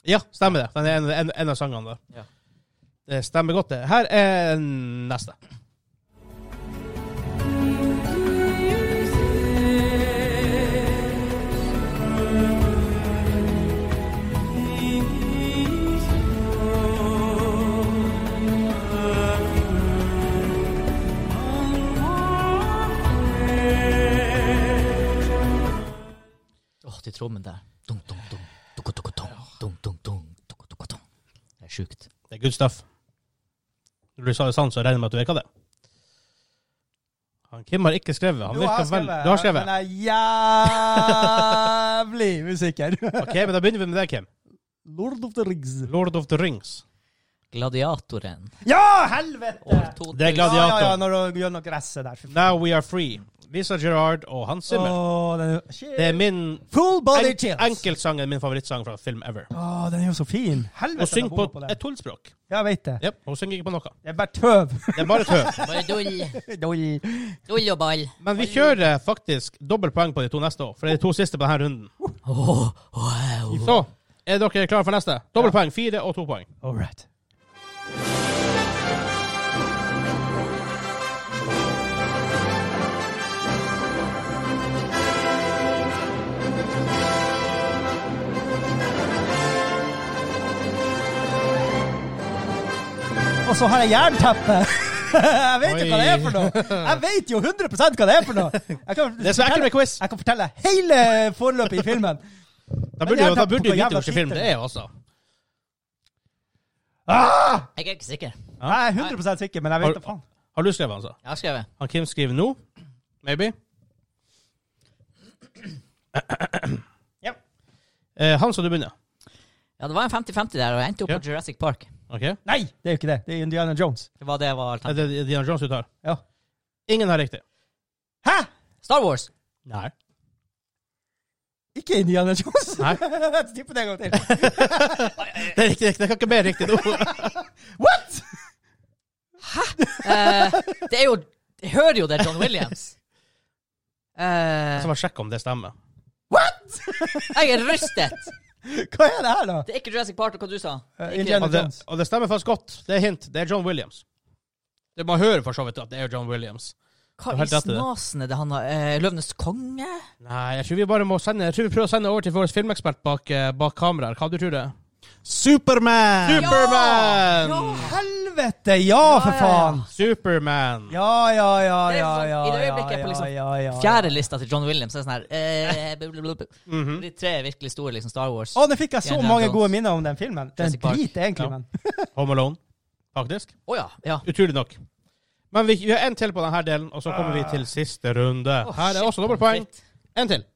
A: Ja, stemmer det. Den er en, en, en av sangene der.
B: Ja.
A: Det stemmer godt, det. Her er neste.
B: Åh, til trommen der. Dum, dum, dum. Dum, dum, dum. Dum, dum, dum. Dum, dum, dum. Det er sjukt.
A: Det er good stuff. Når du sa det sant, så regner jeg med at du virka det. Han Kim har ikke skrevet. Han
C: Jo, jeg
A: virker vel... Du har skrevet?
C: Men jeg er jævlig usikker.
A: Ok, men da begynner vi med deg, Kim.
C: Lord of the Rings.
A: Lord of the Rings.
B: Gladiatoren.
C: Ja, helvete!
B: År 2000.
A: Det er
C: Ja, ja, ja,
A: gladiator.
C: når du gjør noe gresset der. Fy faen.
A: Now we are free. Lisa Gerard og Hans Zimmer.
C: Åh, den er-
A: Det er min
C: Full body
A: en,
C: chills.
A: enkeltsangen min favorittsang fra film ever.
C: Åh, den er jo så fin. Helvete,
A: Hun synger
C: jeg
A: på
C: bommer på
A: et
C: den.
A: tullspråk.
C: Ja, jeg vet det.
A: Jep, hun synger ikke på noe.
C: Det er bare tøv.
A: Det er bare tøv.
B: Bare dull.
C: Doi.
B: Dull og ball.
A: Men vi kjører eh, faktisk dobbelt poeng på de to neste år, for det er de to siste på denne runden.
B: Åh, wow.
A: Så er dere klare for neste? Dobbelt poeng, fire og to poeng.
C: All right. Og så har jeg jernteppe! Jeg vet jo hva det er for noe! Jeg vet jo 100 hva det er for noe! Jeg kan,
A: Det er så ekkelt med quiz.
C: jeg kan fortelle hele forløpet i filmen.
A: Da burde jo da burde jo
C: Jævla
A: vite hvilken film
C: skitter.
A: det er, altså.
C: Ah!
B: Jeg er ikke sikker. Jeg
C: Jeg er 100 sikker, men jeg vet da faen.
A: Har du skrevet, altså?
B: har skrevet.
A: Han Kim skriver nå. Maybe.
C: Ja.
A: Eh, Hans, og du begynner.
B: Ja, det var en 50-50 der, og jeg endte opp
A: Ja.
B: på Jurassic Park.
A: Ok? Er
C: Nei, det er jo ikke det. Det er Indiana Jones.
B: Det var det jeg var alternativ.
A: det Diana Jones du tar?
C: Ja.
A: Ingen har riktig.
C: Hæ?
B: Star Wars.
A: Nei.
C: Ikke Indiana Jones?
A: Nei.
C: Tipp det en gang til.
A: Det er riktig, riktig. Det kan ikke bli riktig nå.
C: What?!
B: Eh, det er jo Jeg hører jo det er John Williams. Eh,
A: Så må jeg sjekke om det stemmer.
C: What?!
B: Eh, jeg er rystet!
C: Hva er det her, da?
B: Det er ikke Jurassic Park, og hva du sa? Det er
C: Eh,
B: ikke-
C: Indiana
A: Og det,
C: Jones.
A: og det stemmer faktisk godt. Det er hint. Det er John Williams. Det Man hører for så vidt at det er John Williams.
B: Hva
A: Du har
B: i
A: helt rett i det.
B: snasen er det han har eh, Løvenes konge?
A: Nei, jeg tror vi bare må sende Jeg tror vi prøver å sende over til vår filmekspert bak, eh, bak kameraer. Hva du tror det er?
E: Superman!
A: Superman!
C: Helvete! Ja, for
B: ja, ja.
C: faen!
A: Superman!
C: Ja, ja, ja,
B: Det er
C: ja,
B: sånn,
C: ja.
B: i det øyeblikket
C: ja,
B: på liksom
C: ja, ja, ja.
B: Fjerdelista til John Williams er sånn her eh, blablabla.
A: Mhm.
B: De tre virkelig store liksom Star Wars.
C: Å, nå fikk jeg så
B: Indiana
C: mange
B: Jones.
C: gode minner om den filmen. Den
B: Jurassic Park.
C: driter egentlig,
A: Ja.
C: men.
A: Home Alone, faktisk.
B: Å ja. ja.
A: Utrolig nok. Men vi, vi har en til på denne delen, og så kommer vi til siste runde.
B: Å,
A: Her er
B: Ah. shit,
A: også dobbeltpoeng.
B: shit.
A: En til.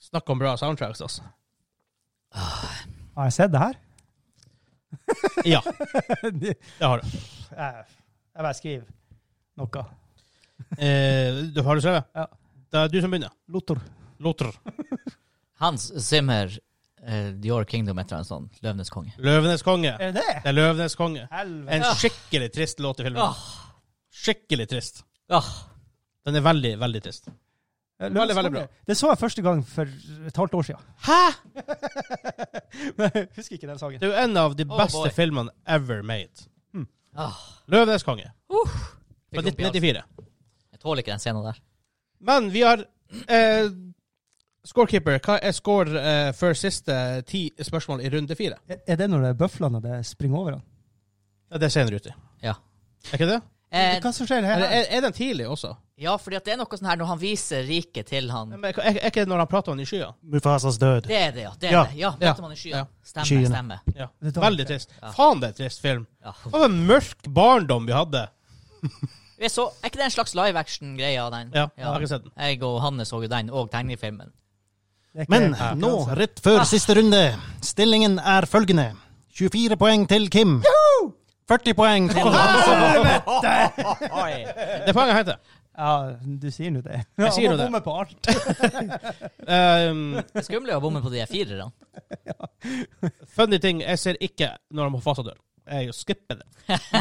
A: Snakk om bra soundtracks, altså.
C: Har jeg sett det her?
A: Ja,
C: De-
A: det har du.
C: Jeg jeg bare skriver noe.
A: Eh, du har du skrevet?
C: Ja.
A: Det er du som begynner.
C: Lotor.
A: Lotter.
B: Hans Zimmer, eh, The Your Kingdom, et eller annet sånt. Løvenes konge.
A: Løvenes konge.
C: Er det det?
A: Det er Løvenes konge. En
C: Helvete.
A: skikkelig trist låt i filmen.
B: Åh,
A: Skikkelig trist.
B: åh.
A: Den er veldig, veldig trist. veldig, veldig bra.
C: Det så jeg første gang for et halvt år siden.
A: Hæ?!
C: Men jeg husker ikke den sangen.
A: Det er jo en av de
B: Oh,
A: beste
B: boy.
A: filmene ever made. Ah.
B: Åh.
A: Løvenes konge
B: Fikk
A: fra
B: opp i halsen.
A: 1994.
B: altså. Jeg tåler ikke den scenen der.
A: Men vi har eh, Scorekeeper, hva er score eh, for siste ti spørsmål i runde fire?
C: Er- Er det når det er bøflene det springer over? han?
A: Ja, det er senere uti.
B: Ja.
A: Er ikke det?
B: Eh,
C: Hva som skjer her?
A: Eller er, er den tidlig også?
B: ja, fordi at det er noe sånn her når han viser riket til han
A: Men Er, er ikke det når han prater om den i skya?
E: Mufasas død.
B: Det er det, ja. Det er
E: Ja.
B: det.
A: Ja.
B: Ja, møter man i skyen.
A: Ja.
B: Stemmer,
E: Skyen.
B: stemmer.
A: Ja.
C: Det tar
A: Veldig
C: ikke.
A: trist.
B: Ja.
A: Faen, det er en trist film.
B: Ja.
A: Det var en mørk barndom vi hadde.
B: Vi så, er ikke det en slags live action-greie av den?
A: Ja, jeg har ikke sett den.
B: Jeg og Hanne så jo den, og tegnefilmen.
C: Det er ikke-
E: Men
C: Ja.
E: nå, rett før siste runde, stillingen er følgende. 24 poeng til Kim. 40 poeng til Hans.
A: Det er poenget heter.
C: Ja, du sier nå det.
A: Jeg sier nå det.
C: Han bommer på alt.
A: Um,
B: Det skumle er å bomme på de firerne.
A: funny ting, jeg ser ikke når han faser dør. Jeg skipper det.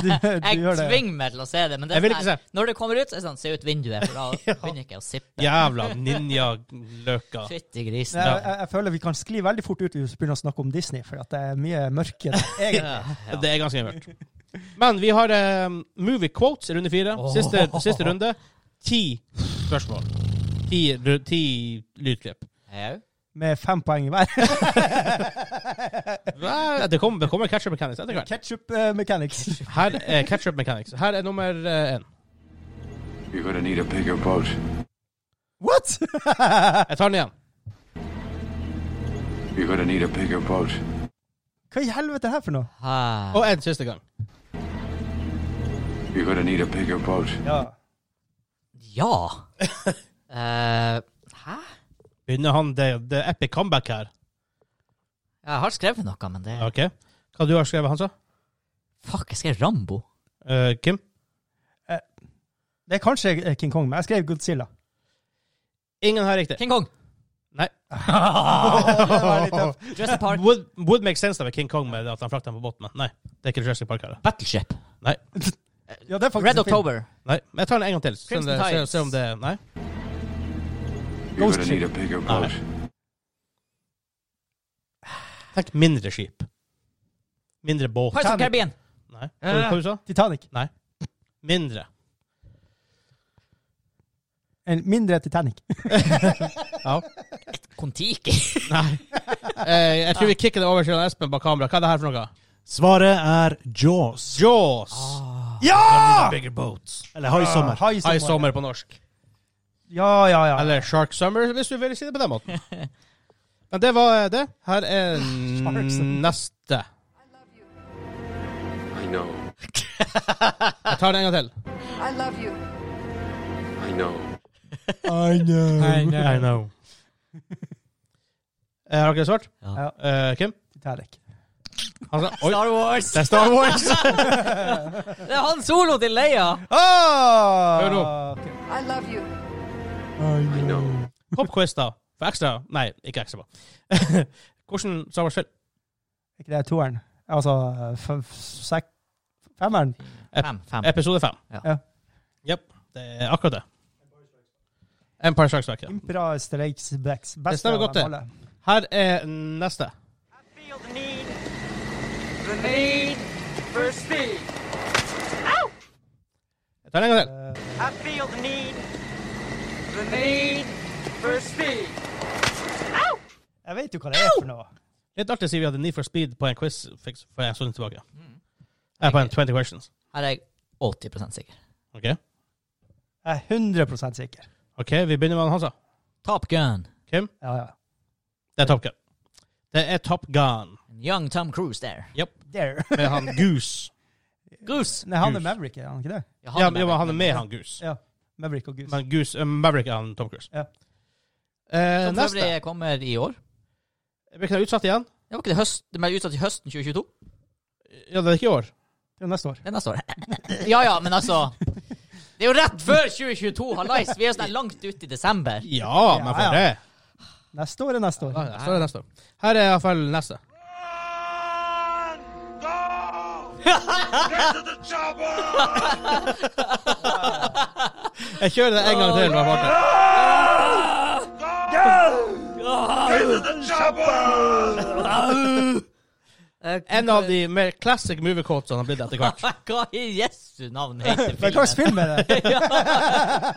C: Du, du
B: Jeg
C: gjør det.
B: tvinger meg til å se det, men det
A: Jeg
B: er
A: vil
B: sånn
A: ikke
B: her, når det kommer ut, så er det sånn, se ut vinduet, for da begynner jeg ikke å sippe.
A: Jævla ninja-løka.
B: Fytti grisen.
C: Jeg, jeg, jeg føler vi kan skli veldig fort ut hvis vi begynner å snakke om Disney, for at det er mye mørke der. Egentlig.
B: Ja, ja.
A: Det er ganske mørkt. Men vi har eh, movie quotes i runde fire. Siste, siste runde. Ti spørsmål. Ti, ru- ti lydklipp.
B: Jau.
C: Med fem poeng i hver.
A: Hva? Det kommer, det kommer Ketchup Mechanics etter hvert.
C: Ketchup eh, Mechanics.
A: Her er Ketchup Mechanics. Her er nummer eh, én.
G: You're gonna need a bigger boat.
C: What?!
A: Jeg tar den igjen.
G: You're gonna need a bigger boat.
C: Hva i helvete er det her for noe?
B: Ah.
A: Og en siste gang.
G: You're gonna need a bigger boat.
C: Ja.
B: Ja. Eh, hæ?
A: Begynner han det, det er epic comeback her?
B: Jeg har skrevet noe, men det...
A: OK. Hva du har skrevet, Hansa?
B: Fuck, jeg skrev Rambo.
A: Eh, Kim?
C: Det er kanskje eh, King Kong, men jeg skrev Godzilla.
A: Ingen har riktig.
B: King Kong.
A: Nei.
C: Det var litt tøft.
B: Jurassic Park.
A: Would, would make sense da med King Kong med at han frakta den på båten. men Nei, det er ikke Jurassic Park her.
B: Battleship.
A: Nei.
C: Ja, det er faktisk
B: Red
C: en film.
B: October.
A: Nei. Men jeg tar den en gang til. Se om det, se,
B: Crimson Tides.
A: se om det Nei.
G: You're
C: Ghost
G: gonna
C: ship.
G: need a bigger boat.
A: Tenk mindre skip. Mindre båt.
B: Pirates of the Caribbean.
A: Nei. Hva, hva du sa du?
C: Titanic.
A: Mindre.
C: En mindre Titanic.
A: Ja.
B: Kon-Tiki.
A: Nei. Eh, jeg tror vi kicker det over til Espen bak kamera. Hva er det her for noe?
E: Svaret er Jaws.
A: Jaws.
C: Ja!
A: Bigger boats.
E: Eller High Summer.
C: High
A: Ah. High
C: Summer.
A: Summer på norsk.
C: Ja, ja, ja.
A: Eller Shark Summer, hvis du vil si det på den måten. Men det var eh, det. Her er
C: Shark Summer.
A: neste.
G: I know.
A: Jeg tar den en gang til.
H: I love you.
G: I know.
E: I know.
A: Ah, I know. Eh, Har dere svart?
C: Ja.
A: Eh, Kim?
C: Titanic.
A: Han sa, Oi,
B: Star Wars.
A: det er Star Wars!
B: Det er han solo til Leia.
A: Hør nå.
C: Ah! Ok.
H: I love you.
G: I know.
A: Popquiz, da. For ekstra Nei, ikke ekstra. Hvordan Star Wars-film?
C: Er ikke det toeren? Altså f- f- sek... Femmeren?
B: Fem, fem.
A: Episode fem.
B: Ja.
C: Ja.
A: Jepp. Det er akkurat det. Empire Strikes Back. ja.
C: Impera Strikes Blacks.
A: Det stemmer godt, det. Her er neste.
H: feel the need, the need for speed.
A: Jeg tar en gang til.
H: I feel the need, the need for speed.
C: Jeg vet jo hva det er for noe.
A: Litt artig å si vi hadde Need for Speed på en quiz for for en stund tilbake. Eh, på en 20 questions.
B: Her er jeg 80 sikker.
A: OK,
C: Jeg er 100 sikker.
A: Ok, vi begynner med han altså. Hansa.
B: Top Gun.
A: Kim,
C: Ja, ja.
A: det er Top Gun. Det er Top Gun
B: Young Tom Cruise der.
C: There.
A: med han Goose.
B: Goose.
C: Nei, han
A: Goose.
C: er Maverick, er han ikke det?
B: Ja,
A: Ja, men han er med, han Goose.
C: Ja. Maverick og Goose.
A: Men Goose, eh, Maverick er han Tom Cruise.
C: Ja.
A: Eh,
B: Som for
A: neste.
B: øvrig kommer i år.
A: Blir ikke det utsatt igjen?
B: Det var ikke det høst, det ble utsatt til høsten 2022?
A: Ja, det er ikke i år.
C: Det er neste år.
B: Det er neste år. Ja ja, men altså Det er jo rett før 2022, hallais! Vi er jo sånn langt ute i desember.
A: Ja, men for
C: Ja, ja.
A: det.
C: Neste år er neste år.
A: Ja, ja, Så er det neste. Her er iallfall neste. Jeg kjører det en gang til. bare for artig. En av de mer classic movie quotesene har blitt etter hvert.
B: Hva i Jesu navn heter
C: Men hva slags
B: filmen?
C: film er det?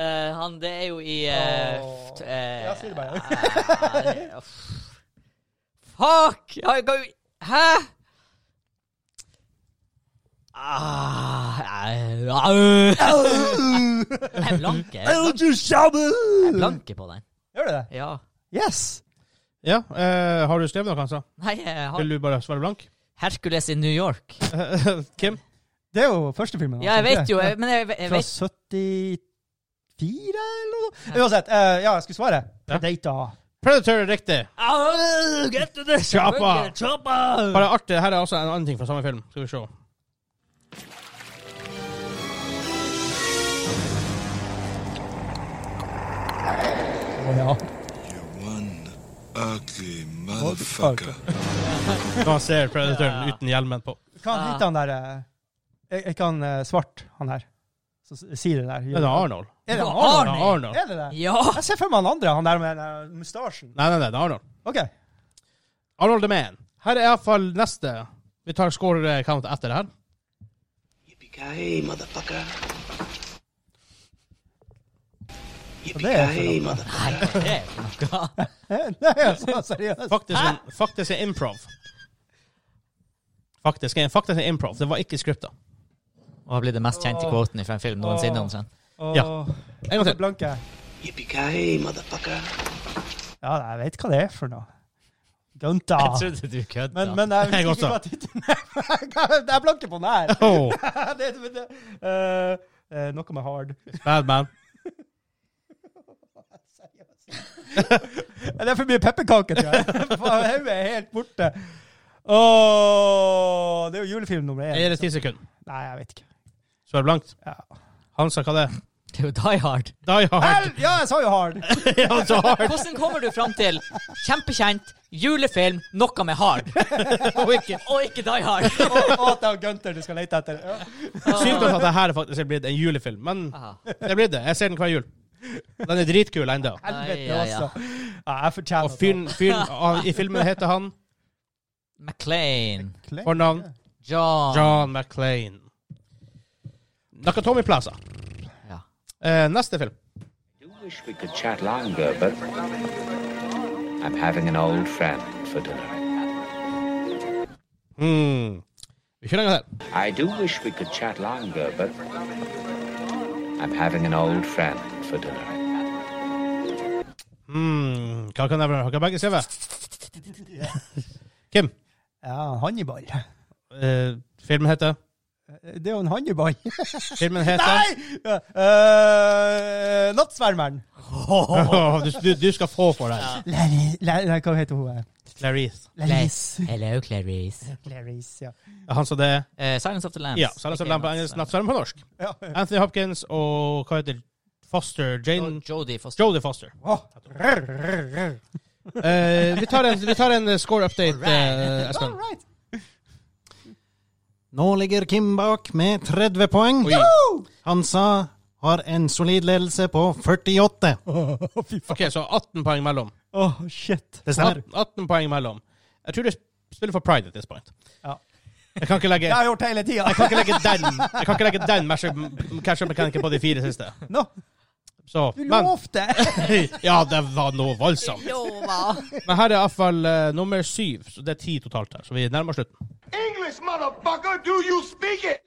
B: Eh, han, det er jo i eh,
C: Åh.
B: t- eh,
C: Ja, si det bare.
B: eh, Fuck! Jeg kan jo Hæ? Ah, eh, au. Jeg er blanke. Jeg er blanke på den.
C: Gjør du det?
B: Ja.
C: Yes!
A: Ja, eh, Har du skrevet noe, Hansa?
B: Nei, eh, jeg har
A: Vil du bare svare blank?
B: Hercules i New York.
A: Kim?
C: Det er jo første filmen.
B: Ja, jeg
C: altså,
B: vet
C: ikke
B: jo,
C: det?
B: jeg, men jeg, jeg
C: Fra
B: vet
C: 74, eller noe? Uansett. eh, ja, jeg skulle svare.
A: Ja.
C: Predator.
A: Predator er riktig.
B: Au, Get to the
A: Chopper.
B: Chopper.
A: Bare artig, her er også en annen ting fra samme film. Skal vi se.
C: Å ja.
I: One ugly motherfucker.
A: Når han ser Predatoren uten hjelmen på.
C: Hva heter han der eh, Er ikke han eh, svart, han her? Som s- sier det der.
A: Er det Arnold?
C: Er det
B: Ja,
C: Arnold?
A: Er det Arnold?
C: Er det det?
B: Ja!
C: Jeg ser for meg han andre, han der med den der mustasjen.
A: Nei, nei, nei, det er Arnold.
C: OK.
A: Arnold the Man. Her er iallfall neste. Vi tar score-count etter det her.
J: Yippee-ki-yay, motherfucker.
C: Yippee-ki-yay,
J: Yippee-ki-yay, motherfucker.
B: Nei, hva er det for noe?
C: Nei, altså, seriøst.
A: Faktisk, en, faktisk en improv. Faktisk en, faktisk en improv. Det var ikke skripta.
B: Hva blir det mest kjente kvoten fra en film noensinne? omtrent?
C: Åh,
A: Ja. En gang til.
C: Blanke.
J: Yippee-ki-yay, motherfucker.
C: Ja, jeg vet hva det er for noe. Gunta.
B: Jeg trodde du kødda.
C: Ah. Men, men jeg
A: Jeg
C: vet
A: også.
C: ikke hva tittelen er. Jeg blanker på den her.
A: Oh,
C: det, det, det, eh, eh, noe med hard.
A: bad man.
C: Det er for mye pepperkaker, tror jeg. Faen, Hodet er helt borte. Åh, det er jo julefilm nummer
A: Er
C: én.
A: det ti sekunder?
C: Nei, jeg vet ikke.
A: Så er det blankt.
C: Ja.
A: Han sa hva det er.
B: Det er jo Die Hard.
A: Die
C: Hell,
A: hard.
C: ja, jeg sa jo hard!
A: ja, så hard.
B: Hvordan kommer du fram til kjempekjent julefilm, noe med hard? og, ikke, Die Hard.
C: Og og at det er Gunther du skal lete etter. Ja.
A: Sykt at det her faktisk er blitt en julefilm, men
B: Aha.
A: det blir det. Jeg ser den hver jul. Den er dritkul ennå.
C: Helvete,
B: Ai, ja, ja.
C: også. Ja, jeg fortjener
A: Og fyren fyren- han- i filmen heter han
B: Maclean.
C: det.
A: fornavn
B: John.
A: John McClain. Nakatomi Plaza.
B: Ja.
A: Eh, neste film.
K: I wish we could chat longer, but I'm having an old friend for dinner.
A: Hmm. Vi kjører en gang til.
K: I do wish we could chat longer, but I'm having an old friend for dinner.
A: Hmm. Hva kan jeg være? Har ikke begge CV? Kim,
C: Ja, Hannibal.
A: eh, filmen heter
C: Det er jo en Hannibal.
A: Filmen heter
C: Nei! Ja, eh, Nattsvermeren.
A: Åh, du, du, du skal få for den.
C: Larry- Larry- Nei, hva heter hun?
A: Clarice.
C: Clarice.
B: Hello, Clarice.
C: Clarice, ja.
A: Han sa det
B: Eh, Silence of the Lambs.
A: Ja. Sara Sørland på engelsk, Nattsverm på norsk.
C: ja.
A: Anthony Hopkins og hva heter Foster Jane
B: Jodie Foster.
A: Jodie Foster.
C: Åh. Rr, rr, rr.
A: Eh, vi, tar en, vi tar en eh, score update eh, en stund.
C: Alright.
E: Nå ligger Kim bak med 30 poeng. Hansa har en solid ledelse på 48.
A: OK, så 18 poeng mellom.
C: Åh, shit.
E: Det stemmer.
A: 18 poeng mellom. Jeg tror du spiller for Pride at this point. Jeg kan ikke legge
C: Det har jeg gjort hele tida.
A: Jeg kan ikke legge den Jeg kan ikke legge den matchup- catch-up mechanic på de fire siste.
C: No.
A: Så,
C: Du
A: men
C: lovte!
A: Ja, det var noe voldsomt.
B: Lova.
A: Men her er iallfall uh, nummer syv, så det er ti totalt her. Så vi nærmer oss slutten.
H: English, motherfucker, do you speak it?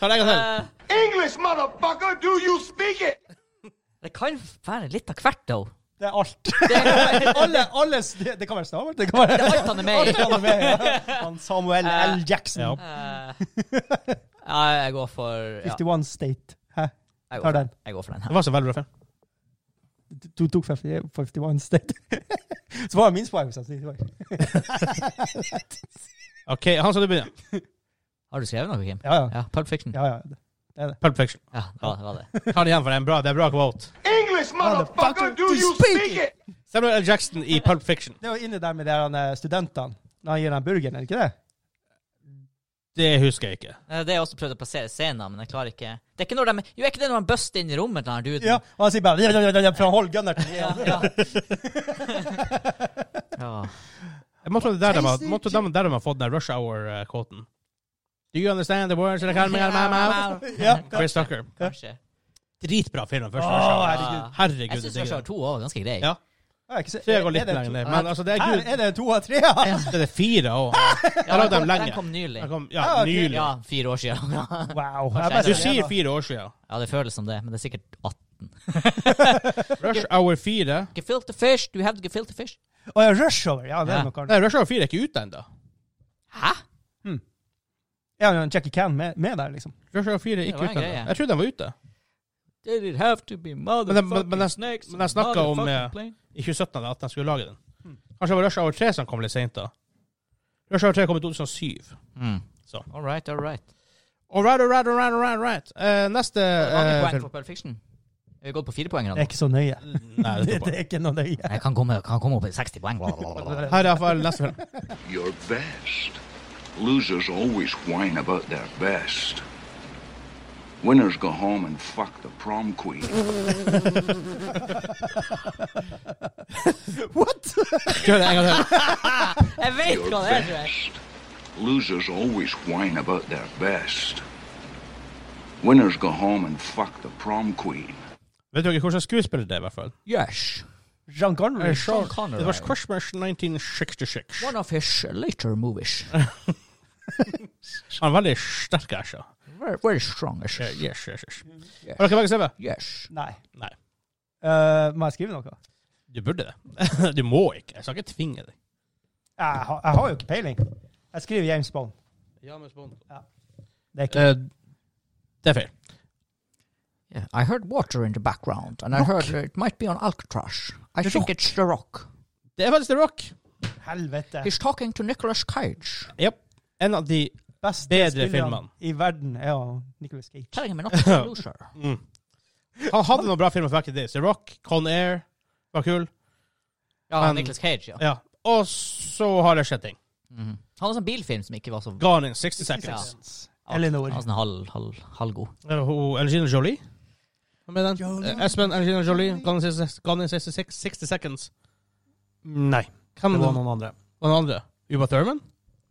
A: Ta det en gang til.
H: English, motherfucker, do you speak it?
B: Det kan være litt av hvert, though.
C: Det er alt.
B: Det-
C: Alle, alle, s- det, det kan være Stavert. Det kan være
B: Alt han er med i.
C: Han er med, ja. Han Samuel L. Jackson.
A: Ja.
B: Eh, ja, jeg går for ja,
C: 51 State. Hæ?
B: jeg,
C: tar
B: går for
C: den.
B: jeg går for den
A: Det
B: her.
A: var så veldig bra film.
C: Du tok 51 State. Så var det minst poeng. så det var-
A: OK, han skal du begynne.
B: Har du skrevet noe, Kim?
C: Ja, ja.
B: Ja, Pulp Fiction. Ja,
C: ja, ja.
A: Pulp Fiction.
B: det var det. Var det.
A: Ta det igjen for det er en bra, det er en bra quote.
H: English, motherfucker, do you speak it?
A: Samuel L. Jackson i Pulp Fiction.
C: Det var inne der med de der, eh, studentene. Når han gir den burgeren, er det ikke det?
A: Det husker jeg ikke.
B: Eh, det har jeg også prøvd å plassere scenen, men jeg klarer ikke Det er ikke når de, Jo, er ikke det når han buster inn i rommet til den her duden?
C: Ja, og han sier bare ja, ja, ja, ja, For han holder gunneren.
B: Ja, ja. ja.
A: Jeg måtte det der de har, måtte de, der de har fått den der Rush Hour-kåten. Do you understand the words that are coming out of my mouth?
C: Ja.
A: Chris Tucker.
B: Kanskje.
A: Dritbra film. den Første
C: Å,
A: Rush Hour.
C: herregud.
A: Herregud.
B: Jeg syns
A: det er
B: Rushhour
A: gøy.
B: 2 òg var ganske grei.
A: Ja.
C: Jeg har ikke sett-
A: Så jeg går litt
C: er det
A: lenger
C: to-
A: ned. Men altså, det er
C: Her
A: gud,
C: er det to av tre, ja!
A: det er fire òg. Jeg lagde dem
B: Den
A: lenge.
B: kom nylig.
A: Den kom, ja,
C: Ja, Ah, ok.
A: nylig.
B: Ja, fire år siden.
C: Wow.
B: Kanskje
C: Jeg bare-
A: Du sier fire år siden.
B: ja, det føles som det, men det er sikkert 18.
A: Rush Hour 4
B: Gefilte fish, do you have the gefilte fish?
C: Å ja, rush over. Ja, det er
B: Ja.
C: noe annet.
A: Nei, Rush Hour 4 er ikke ute ennå.
B: Hæ?
C: Ja, men Jackie Can med, med der, liksom.
A: Rush Hour 4 er
B: Det var
A: ikke
B: en
A: ute
B: greie.
A: ennå. Jeg trodde den var ute.
B: Did it have to be
A: Men- men- men
B: motherfucking
A: jeg-
B: snakes?
A: men jeg snakket om,
B: motherfucking
A: eh,
B: plane? Hmm.
A: I 2017 eller 18 skulle lage den. Kanskje det var Rush Hour 3 som kom litt seint, da. Rush Hour 3 kom i 2007.
B: Mm.
A: Så.
B: All right, all right.
A: All right, all right, all right, all right, all right. Eh, neste
B: Mange
A: eh,
B: poeng
A: film.
B: for Pulp Fiction? Er vi gått på fire poeng?
C: Det er
B: eller?
C: ikke så nøye.
A: Nei, det
C: Mm, Det
A: står på.
C: er ikke noe nøye.
B: Jeg kan komme, kan komme opp i 60 poeng. bla, bla, bla, bla.
A: Her er iallfall neste film.
I: Your best. Losers always whine about their best. Winners go home and fuck the prom queen.
C: What?!
A: Gjør det en gang til.
B: Jeg vet
I: Your
B: hva det er! tror jeg.
I: best. Losers always whine about their best. Winners go home and fuck the prom queen.
A: Vet dere hvilken skuespiller det er, i hvert fall? Eh,
B: Yes.
C: Jean Connery.
B: Sean Connery.
A: Det var Christmas 1966.
B: One of his later movies.
A: Han er veldig sterk æsja.
B: Very, very strong. Yes.
A: Yes, yes, yes.
B: Mm,
A: Har dere begge sett det?
B: yes.
C: Nei.
A: Nei.
C: Eh, må jeg skrive noe?
A: Du burde det. Du må ikke. Jeg skal ikke tvinge deg.
C: Jeg, har- jeg har jo ikke peiling. Jeg skriver James Bond. Det er ikke
A: Eh, det er feil.
B: Yeah, I heard water in the background, and I heard it might be on Alcatraz. I think it's The Rock.
A: Det er faktisk The Rock.
C: Helvete.
B: He's talking to Nicolas Cage.
A: Yep. En av de
C: Beste
A: bedre
C: spillerne
A: filmene.
C: i verden er jo Nicholas Cage.
B: Telling him not to be a loser.
A: Han hadde noen bra filmer back in the days. The Rock, Con Air var kul.
B: Ja,
A: Men-
B: Nicolas Cage, ja.
A: Ja. Og så har det skjedd ting.
B: Mhm. Han var sånn bilfilm som ikke var så
A: Gone in 60 Seconds.
C: Eleanor.
B: Han var sånn halv, halv, halvgod.
A: Eh, hun- Angelina Jolie. Hva med den? Eh, Espen Angelina Jolie. Gone in 60, Gone in 66 60 Seconds.
E: Nei,
A: Hvem
E: det var
A: den-
E: noen andre.
A: var den andre? Uba Thurman?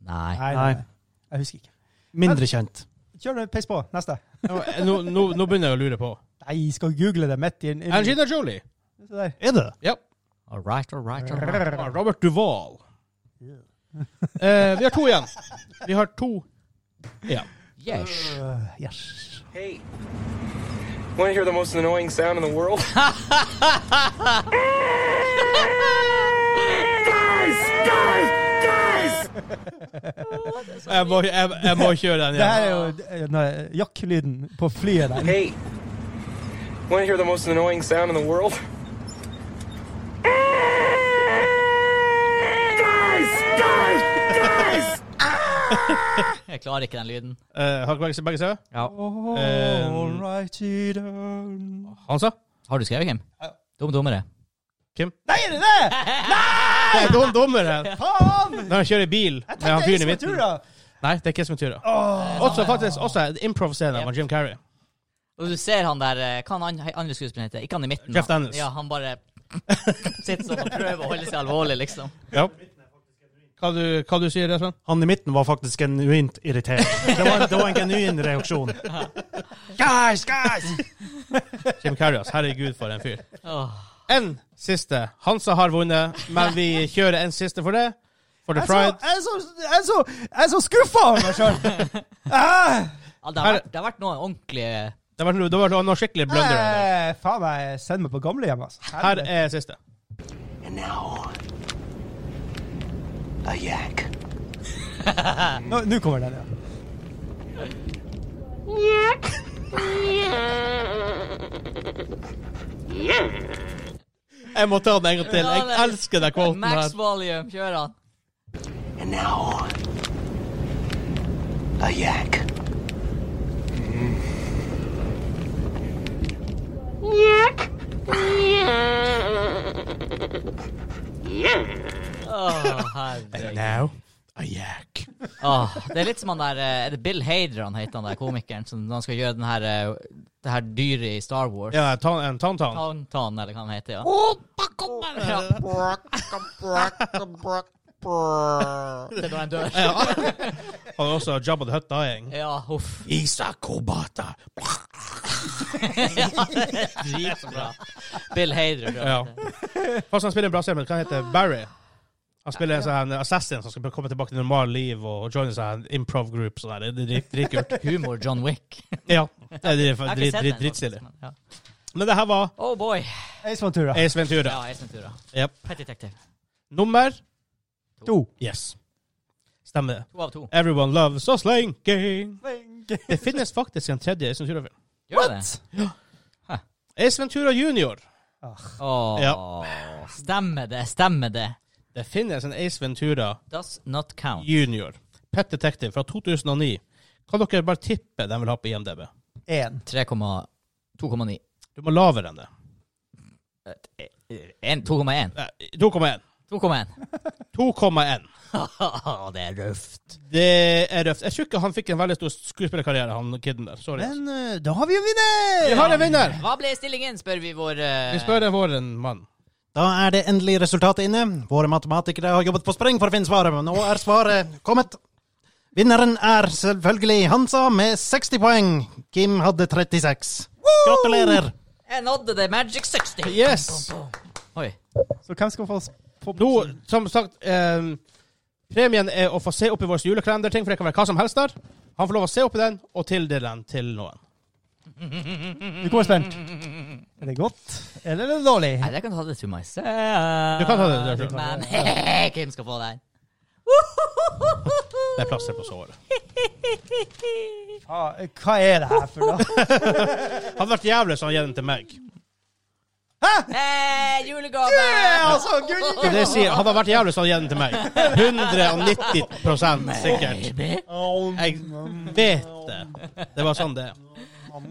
B: Nei.
C: Nei, nei.
E: Nei.
C: nei. Jeg husker ikke.
E: Mindre kjent.
C: Kjør det, peis på. Neste.
A: Eh, Nå, nå, nå begynner jeg å lure på.
C: Nei, skal google det midt i en inn-
A: Angelina Jolie.
C: Se der.
E: Er det det?
A: Ja.
B: All right, all right, all right.
A: Ah, Robert Duvall. Eh, vi har to igjen. Vi har to igjen.
B: Yes.
C: Øh, yes.
H: Hey. Want to hear the most annoying sound in the world?
A: Jeg må, jeg, jeg må kjøre den
C: Det her
A: igjen.
C: er jo eh, nei, jakkelyden på flyet der.
H: Hey. Want to hear the most annoying sound in the world?
B: Jeg klarer ikke den lyden.
A: Eh, har dere begge sett?
B: Ja.
A: Um,
C: Alrighty then.
A: Hansa?
B: Har du skrevet, Kim? Dum dummere.
A: Kim?
C: Nei, er det det?!
A: Det er dum dummer her.
C: Faen!
A: Når han kjører bil med
C: Jeg tenkte
A: han
C: jeg
A: fyren i
C: skulle tur,
A: midten.
C: da.
A: Nei, det er ikke Ventura. Også faktisk også improv-scenen med Jim Carrey.
B: Og du ser han der eh, Hva han an- andre skuespilleren heter? Ikke han i midten.
A: Jeff
B: han-
A: Daniels.
B: Ja, han bare sitter sånn og prøver å holde seg alvorlig, liksom.
E: Ja.
A: Hva, du, hva du sier du, Espen?
E: Han i midten var faktisk genuint irritert. Det var, det var en genuin reaksjon.
A: Guys, guys! Jim Carrey, ass. Herregud, for en fyr.
B: Åh.
A: En siste. Hansa har vunnet, men vi kjører en siste for det. For the
C: Jeg er så-
A: pride.
C: jeg er så- jeg er så- jeg er så skuffa over meg Ah! sjøl!
B: Ja, det, har vært, det har vært noen ordentlige
A: Det var, det var noe skikkelig blunder. her.
C: Eh, Faen, jeg sender meg på gamlehjem, altså.
A: Her er siste.
J: A yak.
C: Nå, nå kommer den, ja.
A: Jeg må ta den en gang til.
B: Ja, det
A: Jeg
B: er-
A: elsker den kvoten
B: Max
A: her.
B: volume, kjør han.
J: And now, a yak.
H: Yak.
B: Åh, herregud.
A: Now, a yak.
B: Åh, det er litt som han der eh, Er det Bill Hader han heter, han der komikeren, som når han skal gjøre den her, eh, det her dyret i Star Wars?
A: Ja, ta- en tantan.
B: Tantan, eller hva han heter, ja. Ja. Det er når han dør.
A: Ja. Han er også Jabba the Hutt dying.
B: Ja, huff.
A: Isa Kobata.
B: Ja, det er Dritbra. Bill Hader. bra.
A: Ja. Fast han spiller en bra serie, men hva heter Barry? Han spiller en sånn her, en assassin som skal komme tilbake til normal liv og og joine sånn her improv group. Sånn her. Det er drit- dritkult.
B: Humor John Wick.
A: Ja. Det er drit-
B: Jeg har ikke
A: drit-
B: sett
A: drit-
B: den,
A: dritstilig.
B: faktisk, men, ja.
A: Men det her var
B: Oh boy.
C: Ace Ventura.
A: Ace Ventura.
B: Ja, Ace Ventura.
A: Yep.
B: Pet Detective.
A: Nummer
C: To.
A: Yes. Stemmer det.
B: To av to.
A: Everyone loves us linking. Det finnes faktisk en tredje Ace Ventura-film.
B: Gjør det?
A: Ace Ventura junior.
B: Åh, Stemmer det, stemmer det.
A: Det finnes en Ace Ventura
B: Does not count.
A: junior. Pet Detective fra 2009. Kan dere bare tippe den vil ha på IMDb?
C: Én.
B: 3,2,9.
A: Du må lavere enn det.
B: En- 2,1.
A: Nei, 2,1.
B: 2,1.
A: 2,1.
B: Haha, det er røft.
A: Det er røft. Jeg tror ikke han fikk en veldig stor skuespillerkarriere, han kiden der. Sorry.
C: Men eh, da har vi jo vinner!
A: Vi har en vinner!
B: Hva ble stillingen, spør vi vår eh,
A: Vi spør en vår en mann.
E: Da er det endelig resultatet inne. Våre matematikere har jobbet på spreng for å finne svaret, men nå er svaret kommet. Vinneren er selvfølgelig Hansa med 60 poeng. Kim hadde 36. Gratulerer!
B: Jeg nådde det Magic 60.
A: Yes!
B: Oi.
C: Så hvem skal få oss på
A: Nå, som sagt, eh, premien er å få se opp i vår julekalenderting, for det kan være hva som helst der. Han får lov å se opp i den, og tildele den til noen.
C: Vi kommer spent. Er det godt, eller er det dårlig?
B: Nei, jeg kan ta det to myself.
A: Du kan ta det, det er klart.
B: Men Kim skal få den.
A: Det er plass til på såret.
C: Ah, hva er det her for noe?
A: Hadde vært jævlig så han gir den til meg.
B: Hey, julegave!
C: altså, gull!
A: Det sier, hadde han vært jævlig så han gir den til meg. 190 sikkert.
B: Baby.
A: Jeg vet det. Det var sånn det er.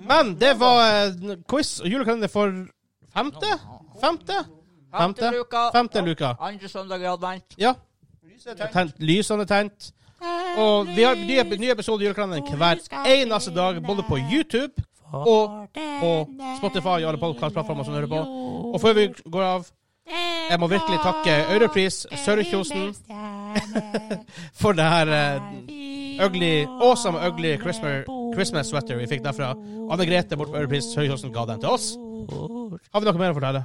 A: Men det var eh, quiz og julekalender for femte? Femte? Femte
B: Femte luka.
A: Femte luka.
B: Andre søndag i advent.
A: Ja. Tent, lysene tent. Og vi har nye, nye episoder i julekalenderen hver eneste dag, både på YouTube og på Spotify og alle podcastplattformer som du hører på. Og før vi går av, jeg må virkelig takke Europris, Sørkjosen, for det her eh, ugly, awesome ugly Christmas, Christmas sweater vi fikk derfra. Anne Grete bort på Europris Høyhåsen ga den til oss. Har vi noe mer å fortelle?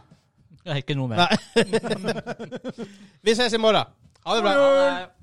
B: Ikke noe
A: Nei. vi ses i morgen. Ha det bra.
B: mer.